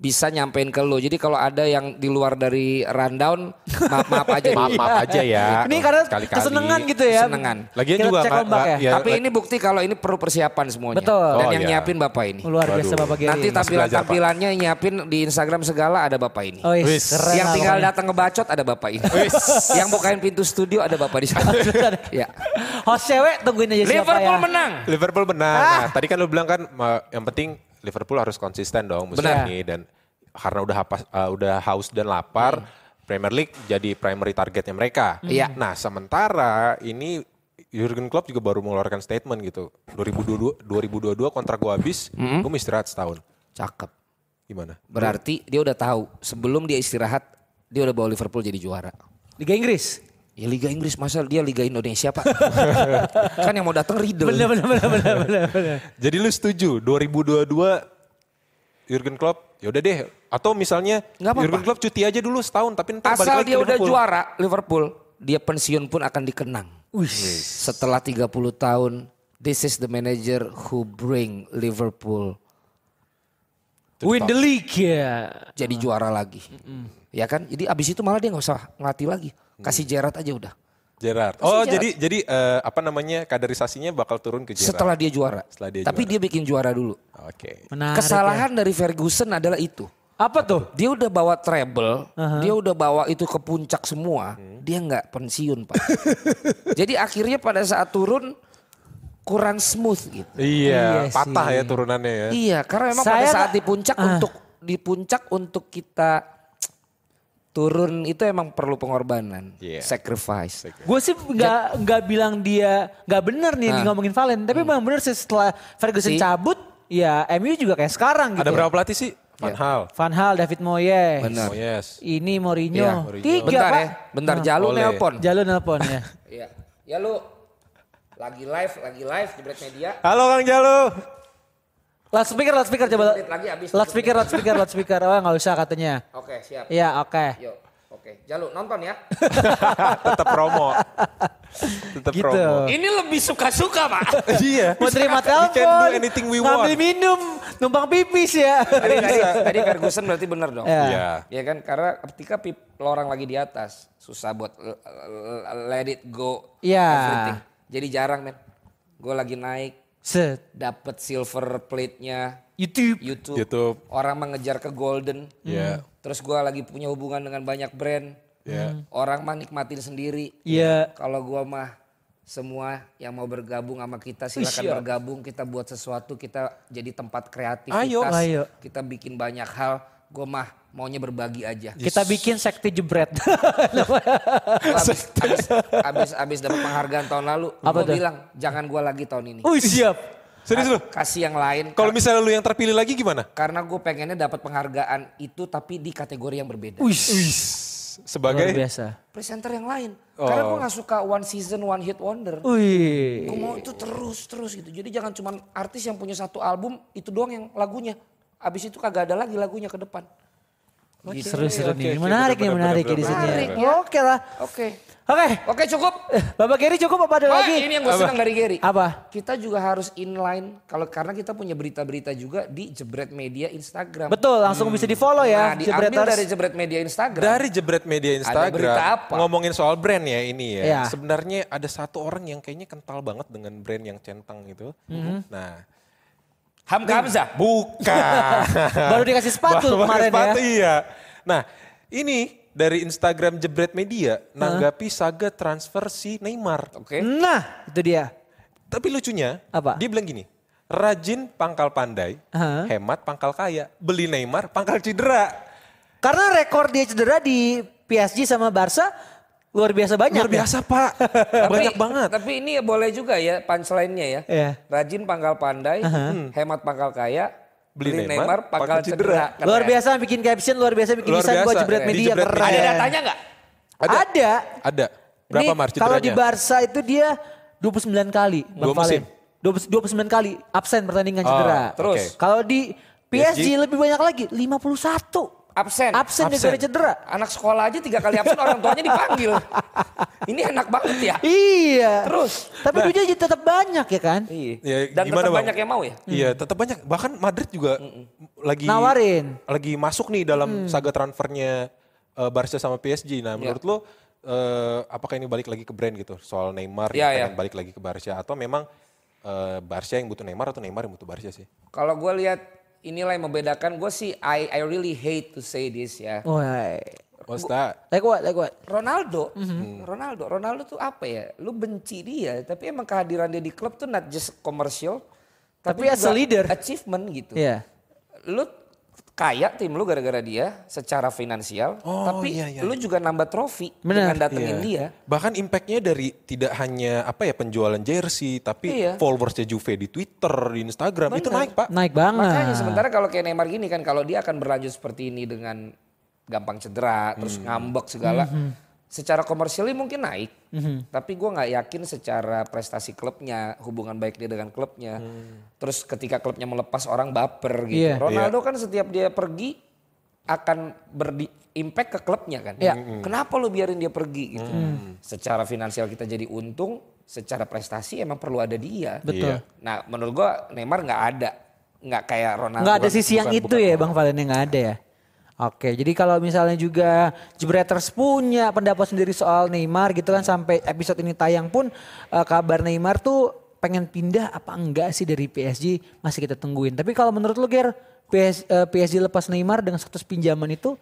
[SPEAKER 4] bisa nyampein ke lo. Jadi kalau ada yang di luar dari rundown, maaf maaf aja. dulu.
[SPEAKER 3] Maaf maaf aja ya.
[SPEAKER 2] Iya. Ini karena
[SPEAKER 3] Sekali-kali.
[SPEAKER 2] kesenangan gitu ya.
[SPEAKER 4] Kesenangan.
[SPEAKER 3] Lagian
[SPEAKER 2] Kita
[SPEAKER 3] juga
[SPEAKER 2] cek
[SPEAKER 3] nggak-
[SPEAKER 2] ombak ya.
[SPEAKER 3] nggak- ya.
[SPEAKER 4] Tapi ini bukti kalau ini perlu persiapan semuanya.
[SPEAKER 2] Betul.
[SPEAKER 4] Dan
[SPEAKER 3] Oh,
[SPEAKER 4] yang
[SPEAKER 3] iya.
[SPEAKER 4] nyiapin bapak ini.
[SPEAKER 2] Luar biasa
[SPEAKER 3] Waduh.
[SPEAKER 2] Bapak Gary.
[SPEAKER 4] Nanti tampilan
[SPEAKER 3] belajar, Pak.
[SPEAKER 4] tampilannya nyiapin di Instagram segala ada bapak ini.
[SPEAKER 2] Oh,
[SPEAKER 3] Wis.
[SPEAKER 2] yes. keren
[SPEAKER 4] yang
[SPEAKER 2] lah
[SPEAKER 4] tinggal
[SPEAKER 2] pokoknya.
[SPEAKER 4] datang ke bacot ada bapak ini. yang bukain pintu studio ada bapak di sana. ya.
[SPEAKER 2] Host cewek tungguin aja siapa
[SPEAKER 4] Liverpool
[SPEAKER 2] ya.
[SPEAKER 4] menang.
[SPEAKER 3] Liverpool menang.
[SPEAKER 4] Ah.
[SPEAKER 3] Nah, tadi kan lu bilang kan ma- yang penting Liverpool harus konsisten dong musim
[SPEAKER 2] Benar.
[SPEAKER 3] ini dan karena udah hapas- uh, udah haus dan lapar, Premier League jadi primary targetnya mereka.
[SPEAKER 4] Hmm. Iya.
[SPEAKER 3] Nah, sementara ini Jurgen Klopp juga baru mengeluarkan statement gitu. 2022 2022 kontrak gua habis,
[SPEAKER 4] Hmm.
[SPEAKER 3] gua mau istirahat setahun.
[SPEAKER 4] Cakep.
[SPEAKER 3] Gimana?
[SPEAKER 4] Berarti dia udah tahu sebelum dia istirahat dia udah bawa Liverpool jadi juara.
[SPEAKER 2] Liga Inggris.
[SPEAKER 4] Ya Liga Inggris masa dia Liga Indonesia Pak. kan yang mau datang Riddle.
[SPEAKER 2] Bener bener bener bener bener. bener.
[SPEAKER 3] Jadi lu setuju 2022 Jurgen Klopp ya udah deh atau misalnya
[SPEAKER 4] Nggak apa-apa.
[SPEAKER 3] Jurgen Klopp cuti aja dulu setahun tapi ntar balik
[SPEAKER 4] Asal
[SPEAKER 3] lagi
[SPEAKER 4] dia
[SPEAKER 3] ke
[SPEAKER 4] udah
[SPEAKER 3] Liverpool.
[SPEAKER 4] juara Liverpool, dia pensiun pun akan dikenang.
[SPEAKER 2] Wih.
[SPEAKER 4] Setelah 30 tahun, this is the manager who bring Liverpool
[SPEAKER 2] Win the league ya.
[SPEAKER 4] jadi juara lagi. Ya kan? Jadi abis itu malah dia nggak usah ngelatih lagi. Kasih Gerrard aja udah.
[SPEAKER 3] Gerard. Oh, jadi jadi eh, apa namanya kaderisasinya bakal turun ke Gerard.
[SPEAKER 4] Setelah dia juara.
[SPEAKER 3] Setelah dia
[SPEAKER 4] Tapi dia bikin juara dulu.
[SPEAKER 3] Oke.
[SPEAKER 2] Menarik. ya.
[SPEAKER 4] Kesalahan dari Ferguson adalah itu.
[SPEAKER 2] Apa tuh?
[SPEAKER 4] Dia udah bawa treble, dia udah bawa itu ke puncak semua, dia nggak pensiun pak. Jadi akhirnya pada saat turun kurang smooth gitu.
[SPEAKER 2] Iya
[SPEAKER 3] Iya, patah
[SPEAKER 2] sih.
[SPEAKER 3] ya turunannya ya.
[SPEAKER 4] Iya, karena memang pada
[SPEAKER 2] Saya
[SPEAKER 4] saat
[SPEAKER 2] nggak- Ah.
[SPEAKER 4] di puncak untuk di puncak untuk kita turun itu emang perlu pengorbanan,
[SPEAKER 3] Iya.
[SPEAKER 4] sacrifice.
[SPEAKER 2] Gue sih nggak nggak bilang dia nggak bener nih yang ngomongin Valen, tapi
[SPEAKER 3] Hmm.
[SPEAKER 2] memang bener sih setelah Ferguson
[SPEAKER 4] Si.
[SPEAKER 2] cabut, ya MU juga kayak sekarang gitu.
[SPEAKER 3] Ada berapa pelatih sih? Van Hal.
[SPEAKER 2] Van Hal, David Moyes,
[SPEAKER 4] Benar.
[SPEAKER 3] Oh, yes.
[SPEAKER 2] ini Mourinho,
[SPEAKER 4] Iya.
[SPEAKER 2] tiga
[SPEAKER 4] Bentar
[SPEAKER 2] pak. Ah.
[SPEAKER 4] ya, bentar Jalu
[SPEAKER 3] Boleh.
[SPEAKER 4] nelpon.
[SPEAKER 2] Jalur nelpon ya.
[SPEAKER 4] Iya. Ya lu lagi live, lagi live di Break Media.
[SPEAKER 3] Halo Kang Jalu.
[SPEAKER 2] Loudspeaker, loudspeaker coba.
[SPEAKER 4] Menit lagi habis.
[SPEAKER 2] Loudspeaker, loudspeaker, loudspeaker. Oh nggak usah katanya.
[SPEAKER 4] Oke, siap.
[SPEAKER 2] Iya oke.
[SPEAKER 4] Yuk. Oke, Jalu nonton ya.
[SPEAKER 3] Tetap promo. Tetap
[SPEAKER 2] Gitu.
[SPEAKER 3] promo.
[SPEAKER 4] Ini lebih suka-suka, Pak.
[SPEAKER 3] Iya.
[SPEAKER 2] Mau terima
[SPEAKER 3] We can do
[SPEAKER 2] telepon,
[SPEAKER 3] anything we
[SPEAKER 2] ngambil
[SPEAKER 3] want.
[SPEAKER 2] minum, numpang pipis ya.
[SPEAKER 4] tadi, tadi, tadi Ferguson berarti benar dong.
[SPEAKER 2] Iya.
[SPEAKER 3] Iya.
[SPEAKER 4] Ya kan karena ketika pip, orang lagi di atas susah buat l- l- let it go
[SPEAKER 2] Iya.
[SPEAKER 4] everything. Jadi jarang men. Gue lagi naik
[SPEAKER 2] Set.
[SPEAKER 4] dapat silver plate-nya
[SPEAKER 2] YouTube.
[SPEAKER 4] YouTube.
[SPEAKER 3] YouTube.
[SPEAKER 4] Orang mengejar ke golden.
[SPEAKER 2] Hmm.
[SPEAKER 3] Iya.
[SPEAKER 4] Terus gue lagi punya hubungan dengan banyak brand.
[SPEAKER 3] Iya.
[SPEAKER 4] Orang mah nikmatin sendiri.
[SPEAKER 2] Iya.
[SPEAKER 4] Kalau gue mah semua yang mau bergabung sama kita silakan
[SPEAKER 2] Siap.
[SPEAKER 4] bergabung kita buat sesuatu kita jadi tempat kreativitas
[SPEAKER 2] Ayo. Ayo.
[SPEAKER 4] kita bikin banyak hal gue mah maunya berbagi aja
[SPEAKER 2] Kita bikin sekte jebret.
[SPEAKER 4] Gua abis, abis, abis, abis dapat penghargaan tahun lalu
[SPEAKER 2] Apa
[SPEAKER 4] gue
[SPEAKER 2] tuh?
[SPEAKER 4] bilang jangan gue lagi tahun ini
[SPEAKER 2] Wih siap.
[SPEAKER 3] Serius lu?
[SPEAKER 4] kasih yang lain
[SPEAKER 3] Kalau misalnya lu yang terpilih lagi gimana?
[SPEAKER 4] karena gue pengennya dapat penghargaan itu tapi di kategori yang berbeda
[SPEAKER 2] Wih. Luar
[SPEAKER 3] Sebagai
[SPEAKER 2] biasa.
[SPEAKER 4] presenter yang lain karena gue nggak suka one season one hit wonder
[SPEAKER 2] Wih.
[SPEAKER 4] Gue mau itu terus terus gitu. Jadi jangan cuman artis yang punya satu album itu doang yang lagunya. Abis itu kagak ada lagi lagunya ke depan.
[SPEAKER 2] Seru-seru
[SPEAKER 3] oke,
[SPEAKER 2] nih.
[SPEAKER 3] oke,
[SPEAKER 2] Menarik nih,
[SPEAKER 3] bener-bener,
[SPEAKER 2] menarik ya di sini.
[SPEAKER 4] bener-bener.
[SPEAKER 2] ya. Oke lah.
[SPEAKER 4] Oke.
[SPEAKER 2] Oke.
[SPEAKER 4] Oke cukup.
[SPEAKER 2] Bapak Gary cukup apa ada
[SPEAKER 4] Oh,
[SPEAKER 2] lagi?
[SPEAKER 4] ini yang gue senang dari Gary.
[SPEAKER 2] Apa?
[SPEAKER 4] Kita juga harus inline kalau karena kita punya berita-berita juga di Jebret Media Instagram.
[SPEAKER 2] Betul, langsung bisa di follow
[SPEAKER 4] Nah,
[SPEAKER 2] ya.
[SPEAKER 4] diambil
[SPEAKER 2] Jebreters.
[SPEAKER 4] dari Jebret Media Instagram.
[SPEAKER 3] dari jebret media Instagram
[SPEAKER 4] berita apa?
[SPEAKER 3] ngomongin soal brand ya ini ya.
[SPEAKER 2] Iya.
[SPEAKER 3] Sebenarnya ada satu orang yang kayaknya kental banget dengan brand yang centang gitu. Nah,
[SPEAKER 4] Hamka Hamzah.
[SPEAKER 3] bukan.
[SPEAKER 2] Baru dikasih sepatu
[SPEAKER 3] Baru pakai
[SPEAKER 2] kemarin
[SPEAKER 3] sepatu,
[SPEAKER 2] ya.
[SPEAKER 3] Iya. Nah, ini dari Instagram Jebret Media nanggapi saga transfer si Neymar.
[SPEAKER 4] Oke.
[SPEAKER 2] Nah, itu dia.
[SPEAKER 3] Tapi lucunya,
[SPEAKER 2] Apa?
[SPEAKER 3] dia bilang gini, rajin pangkal pandai,
[SPEAKER 2] Hah?
[SPEAKER 3] hemat pangkal kaya, beli Neymar pangkal cedera.
[SPEAKER 2] Karena rekor dia cedera di PSG sama Barca luar biasa banyak. ya.
[SPEAKER 3] Luar biasa Pak,
[SPEAKER 4] Tapi-
[SPEAKER 3] banyak banget.
[SPEAKER 4] Tapi ini boleh juga ya punchline-nya ya.
[SPEAKER 2] Iya.
[SPEAKER 4] Rajin pangkal pandai, Hmm. hemat pangkal kaya,
[SPEAKER 3] Beli
[SPEAKER 4] beli,
[SPEAKER 3] Neymar,
[SPEAKER 4] Neymar, pangkal
[SPEAKER 3] pangkal
[SPEAKER 4] cedera.
[SPEAKER 3] cedera.
[SPEAKER 2] Ya. Luar
[SPEAKER 4] Keren.
[SPEAKER 2] biasa bikin caption, luar biasa bikin
[SPEAKER 3] Luar
[SPEAKER 2] desain buat
[SPEAKER 3] biasa.
[SPEAKER 2] jebret
[SPEAKER 3] Keren.
[SPEAKER 2] media.
[SPEAKER 3] Di Jebret
[SPEAKER 2] Keren.
[SPEAKER 4] Ada datanya nggak?
[SPEAKER 2] Ada.
[SPEAKER 3] Ada. Berapa
[SPEAKER 2] Ini
[SPEAKER 3] Mar
[SPEAKER 2] Kalau di
[SPEAKER 3] cederanya?
[SPEAKER 2] Barca itu dia 29 kali. Bang
[SPEAKER 3] Dua musim.
[SPEAKER 2] Valen. 20 29 kali absen pertandingan cedera.
[SPEAKER 4] terus?
[SPEAKER 2] Oke. Kalau di PSG,
[SPEAKER 3] PSG?
[SPEAKER 2] lebih banyak lagi, 51.
[SPEAKER 4] Eh, Absen.
[SPEAKER 2] Absen gara-gara cedera.
[SPEAKER 4] Anak sekolah aja tiga kali absen orang tuanya dipanggil. ini enak banget ya.
[SPEAKER 2] Iya.
[SPEAKER 4] Terus?
[SPEAKER 2] Tapi duitnya jadi tetap banyak ya kan?
[SPEAKER 4] Iya.
[SPEAKER 3] Ya,
[SPEAKER 4] Dan tetap
[SPEAKER 3] gimana, Bang?
[SPEAKER 4] banyak yang mau ya.
[SPEAKER 3] Iya, tetap banyak. Bahkan Madrid juga lagi
[SPEAKER 2] Nawarin.
[SPEAKER 3] lagi masuk nih dalam saga transfernya eh, Barca sama
[SPEAKER 4] Ya.
[SPEAKER 3] PSG. Nah, menurut lo eh, apakah ini balik lagi ke brand gitu soal Neymar
[SPEAKER 4] Iya,
[SPEAKER 3] yang pengen
[SPEAKER 4] iya.
[SPEAKER 3] balik lagi ke Barca atau memang eh, Barca yang butuh Neymar atau Neymar yang butuh Barca sih?
[SPEAKER 4] Kalau gue lihat inilah yang membedakan gue sih I I really hate to say this ya.
[SPEAKER 2] Wah.
[SPEAKER 3] What's that?
[SPEAKER 2] Like what? Like what?
[SPEAKER 4] Ronaldo,
[SPEAKER 2] Mhm.
[SPEAKER 3] Hmm.
[SPEAKER 4] Ronaldo, Ronaldo tuh apa ya? Lu benci dia, tapi emang kehadiran dia di klub tuh not just commercial,
[SPEAKER 2] Tapi as
[SPEAKER 4] juga
[SPEAKER 2] a leader.
[SPEAKER 4] achievement gitu.
[SPEAKER 2] Iya.
[SPEAKER 4] Lu kaya tim lu gara-gara dia secara finansial,
[SPEAKER 3] Oh,
[SPEAKER 4] tapi
[SPEAKER 3] iya, iya.
[SPEAKER 4] lu juga nambah trofi dengan
[SPEAKER 2] Benar.
[SPEAKER 4] datengin dia.
[SPEAKER 3] Bahkan impactnya dari tidak hanya apa ya penjualan jersey tapi
[SPEAKER 4] Iya.
[SPEAKER 3] followersnya Juve di Twitter, di Instagram itu naik pak.
[SPEAKER 2] Naik banget.
[SPEAKER 4] Makanya sementara kalau kayak Neymar gini kan kalau dia akan berlanjut seperti ini dengan gampang cedera, terus
[SPEAKER 2] Hmm.
[SPEAKER 4] ngambek segala. Secara komersialnya mungkin naik,
[SPEAKER 2] Hmm.
[SPEAKER 4] tapi gua nggak yakin secara prestasi klubnya, hubungan baik dia dengan klubnya. Terus ketika klubnya melepas orang baper gitu.
[SPEAKER 2] Hmm. Iya.
[SPEAKER 4] Ronaldo kan setiap dia pergi akan berdi impact ke klubnya kan.
[SPEAKER 2] Iya. Hmm.
[SPEAKER 4] Kenapa lu biarin dia pergi gitu? Secara finansial kita jadi untung, secara prestasi emang perlu ada dia.
[SPEAKER 2] Betul.
[SPEAKER 4] Nah menurut gua Neymar nggak ada, nggak kayak Ronaldo.
[SPEAKER 2] Nggak ada
[SPEAKER 4] Nah, Bukan-
[SPEAKER 2] sisi yang
[SPEAKER 4] bukan-
[SPEAKER 2] itu ya Bang Valen yang nggak ada ya. Oke, jadi kalau misalnya juga Jebreters punya pendapat sendiri soal Neymar gitu kan sampai episode ini tayang pun eh, kabar Neymar tuh pengen pindah apa enggak sih dari PSG masih kita tungguin. Tapi kalau menurut lu Ger, PS, eh, PSG lepas Neymar dengan status pinjaman itu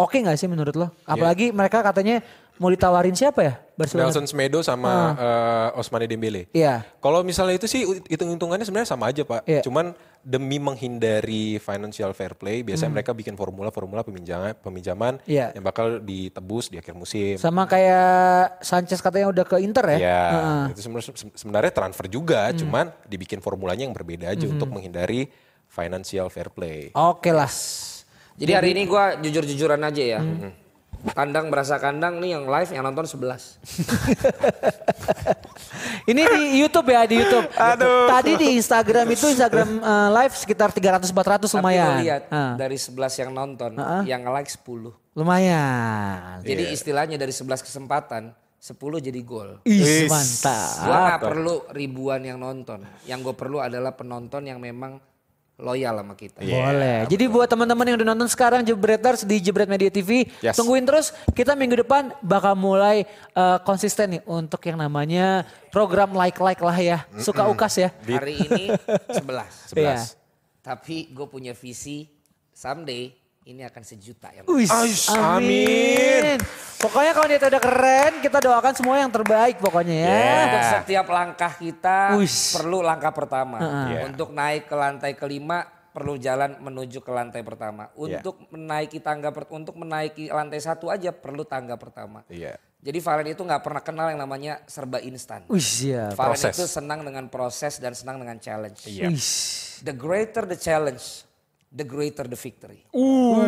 [SPEAKER 2] oke nggak sih menurut lo?
[SPEAKER 4] Iya.
[SPEAKER 2] Apalagi mereka katanya mau ditawarin siapa ya? Barcelona.
[SPEAKER 3] Nelson Semedo sama eh, Osmane Dembele.
[SPEAKER 2] Iya.
[SPEAKER 3] Kalau misalnya itu sih hitung-hitungannya sebenarnya sama aja Pak.
[SPEAKER 2] Iya.
[SPEAKER 3] Cuman demi menghindari financial fair play, biasanya mereka bikin formula-formula peminjaman peminjaman
[SPEAKER 2] Hmm. Iya.
[SPEAKER 3] yang bakal ditebus di akhir musim.
[SPEAKER 2] Sama kayak Sanchez katanya udah ke Inter ya?
[SPEAKER 4] Iya.
[SPEAKER 3] Ya,
[SPEAKER 2] Heeh. Hmm.
[SPEAKER 3] itu sebenarnya sebenarnya transfer juga, cuman dibikin formulanya yang berbeda aja untuk menghindari financial fair play.
[SPEAKER 2] Oke lah.
[SPEAKER 4] Jadi hari ini gua jujur-jujuran aja ya.
[SPEAKER 2] Hmm.
[SPEAKER 4] Kandang berasa kandang nih yang live yang nonton 11.
[SPEAKER 2] Ini di YouTube ya, di YouTube. Tadi di Instagram itu Instagram eh, live sekitar 300-400 lumayan.
[SPEAKER 4] Tapi lu lihat
[SPEAKER 2] Ah,
[SPEAKER 4] dari 11 yang nonton, yang like 10.
[SPEAKER 2] lumayan.
[SPEAKER 4] Jadi istilahnya dari 11 kesempatan, 10 jadi gol.
[SPEAKER 2] Ih,
[SPEAKER 3] Is.
[SPEAKER 4] Gua
[SPEAKER 2] mantap.
[SPEAKER 4] nggak perlu ribuan yang nonton. Yang gue perlu adalah penonton yang memang loyal sama kita.
[SPEAKER 3] Iya.
[SPEAKER 2] Boleh. Jadi buat teman-teman yang udah nonton sekarang Jebreters di Jebret Media TV,
[SPEAKER 3] Yes.
[SPEAKER 2] tungguin terus kita minggu depan bakal mulai eh, konsisten nih untuk yang namanya program like-like lah ya. Suka ukas ya.
[SPEAKER 4] Hari ini 11.
[SPEAKER 3] 11.
[SPEAKER 2] Iya.
[SPEAKER 4] Tapi gue punya visi someday ini akan sejuta yang
[SPEAKER 2] Wis,
[SPEAKER 3] Ais, amin.
[SPEAKER 2] Pokoknya kalau dia udah keren, kita doakan semua yang terbaik pokoknya ya.
[SPEAKER 4] Eh, Untuk setiap langkah kita
[SPEAKER 2] Uish.
[SPEAKER 4] perlu langkah pertama.
[SPEAKER 3] Yeah.
[SPEAKER 4] Untuk naik ke lantai kelima perlu jalan menuju ke lantai pertama. Untuk menaiki tangga per- untuk menaiki lantai satu aja perlu tangga pertama.
[SPEAKER 3] Iya.
[SPEAKER 4] Jadi Valen itu nggak pernah kenal yang namanya serba instan.
[SPEAKER 2] Wih, siap.
[SPEAKER 4] Valen
[SPEAKER 3] proses.
[SPEAKER 4] itu senang dengan proses dan senang dengan challenge.
[SPEAKER 3] Iya.
[SPEAKER 2] Wih.
[SPEAKER 4] The greater the challenge, the greater the victory.
[SPEAKER 3] Ooh,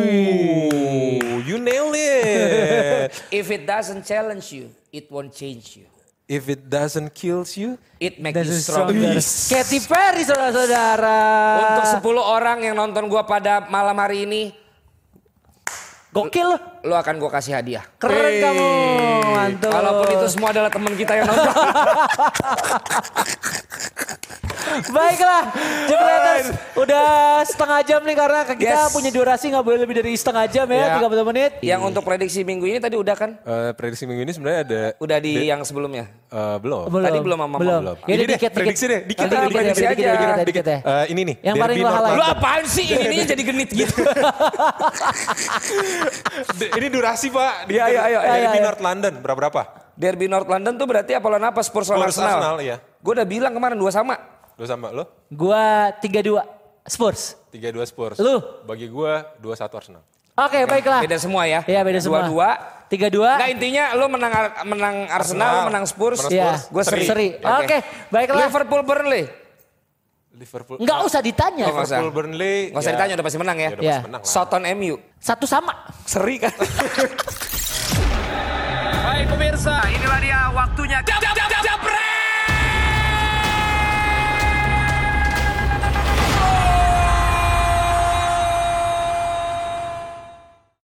[SPEAKER 3] you nailed it.
[SPEAKER 4] If it doesn't challenge you, it won't change you.
[SPEAKER 3] If it doesn't kills you,
[SPEAKER 4] It make
[SPEAKER 2] Dan
[SPEAKER 4] you stronger.
[SPEAKER 2] stronger. Katy Perry saudara-saudara.
[SPEAKER 4] Untuk 10 orang yang nonton gua pada malam hari ini,
[SPEAKER 2] Gokil lu.
[SPEAKER 4] lo akan gua kasih hadiah.
[SPEAKER 2] Keren kamu. Mantap.
[SPEAKER 4] Walaupun itu semua adalah teman kita yang nonton.
[SPEAKER 2] Baiklah, Jepreters udah setengah jam nih karena kita
[SPEAKER 4] Yes.
[SPEAKER 2] punya durasi nggak boleh lebih dari setengah jam
[SPEAKER 4] Ya.
[SPEAKER 2] ya, 30 menit.
[SPEAKER 4] yang untuk prediksi minggu ini tadi udah kan?
[SPEAKER 3] eh, prediksi minggu ini sebenarnya ada
[SPEAKER 4] Udah di yang sebelumnya.
[SPEAKER 3] eh, belum.
[SPEAKER 4] Tadi belum sama Mama,
[SPEAKER 2] belum.
[SPEAKER 4] belum.
[SPEAKER 2] Ya
[SPEAKER 3] Ini
[SPEAKER 2] udah
[SPEAKER 3] Iya deh,
[SPEAKER 2] dikit,
[SPEAKER 3] prediksi deh, dikit
[SPEAKER 2] Nanti
[SPEAKER 3] aja,
[SPEAKER 4] prediksi
[SPEAKER 2] dikit,
[SPEAKER 4] aja.
[SPEAKER 2] dikit, dikit,
[SPEAKER 3] Dikit.
[SPEAKER 2] dikit ya.
[SPEAKER 3] Eh, ini nih.
[SPEAKER 2] Yang paling
[SPEAKER 3] derby
[SPEAKER 2] lo halain.
[SPEAKER 4] Lo
[SPEAKER 3] Northampton.
[SPEAKER 4] apaan sih? Ini jadi genit gitu.
[SPEAKER 3] D- ini durasi pak.
[SPEAKER 2] Iya,
[SPEAKER 3] Dia ayo ayo.
[SPEAKER 2] Ayo,
[SPEAKER 3] Derby
[SPEAKER 2] ayo.
[SPEAKER 3] North London berapa berapa?
[SPEAKER 4] Derby North London tuh berarti apa lawan apa? Spurs lawan
[SPEAKER 3] Spurs Arsenal,
[SPEAKER 4] Arsenal.
[SPEAKER 3] iya.
[SPEAKER 4] Gue udah bilang kemarin dua sama.
[SPEAKER 3] Lu sama lo?
[SPEAKER 2] Gua 32 Spurs.
[SPEAKER 3] Tiga dua Spurs.
[SPEAKER 2] Lu?
[SPEAKER 3] Bagi gua dua satu Arsenal.
[SPEAKER 2] Oke,
[SPEAKER 3] Ah.
[SPEAKER 2] baiklah.
[SPEAKER 4] Beda semua ya.
[SPEAKER 2] Iya, beda semua.
[SPEAKER 4] Dua-dua.
[SPEAKER 2] 32.
[SPEAKER 4] Nah intinya lo menang Ar- menang Arsenal,
[SPEAKER 3] Arsenal.
[SPEAKER 4] lo menang Spurs.
[SPEAKER 3] Menang
[SPEAKER 2] Iya,
[SPEAKER 3] Spurs.
[SPEAKER 4] Gue seri.
[SPEAKER 2] Seri. Oke, baiklah.
[SPEAKER 4] Liverpool Burnley.
[SPEAKER 3] Liverpool.
[SPEAKER 2] Nggak usah ditanya.
[SPEAKER 4] Oh, nggak usah.
[SPEAKER 3] Liverpool Burnley.
[SPEAKER 4] Gak usah
[SPEAKER 3] ya,
[SPEAKER 4] ditanya udah pasti menang ya.
[SPEAKER 3] Ya udah
[SPEAKER 2] Ya.
[SPEAKER 3] pasti menang lah.
[SPEAKER 4] Soton MU.
[SPEAKER 2] Satu sama.
[SPEAKER 4] Seri kan.
[SPEAKER 1] Baik pemirsa, inilah dia waktunya. Jam, jam,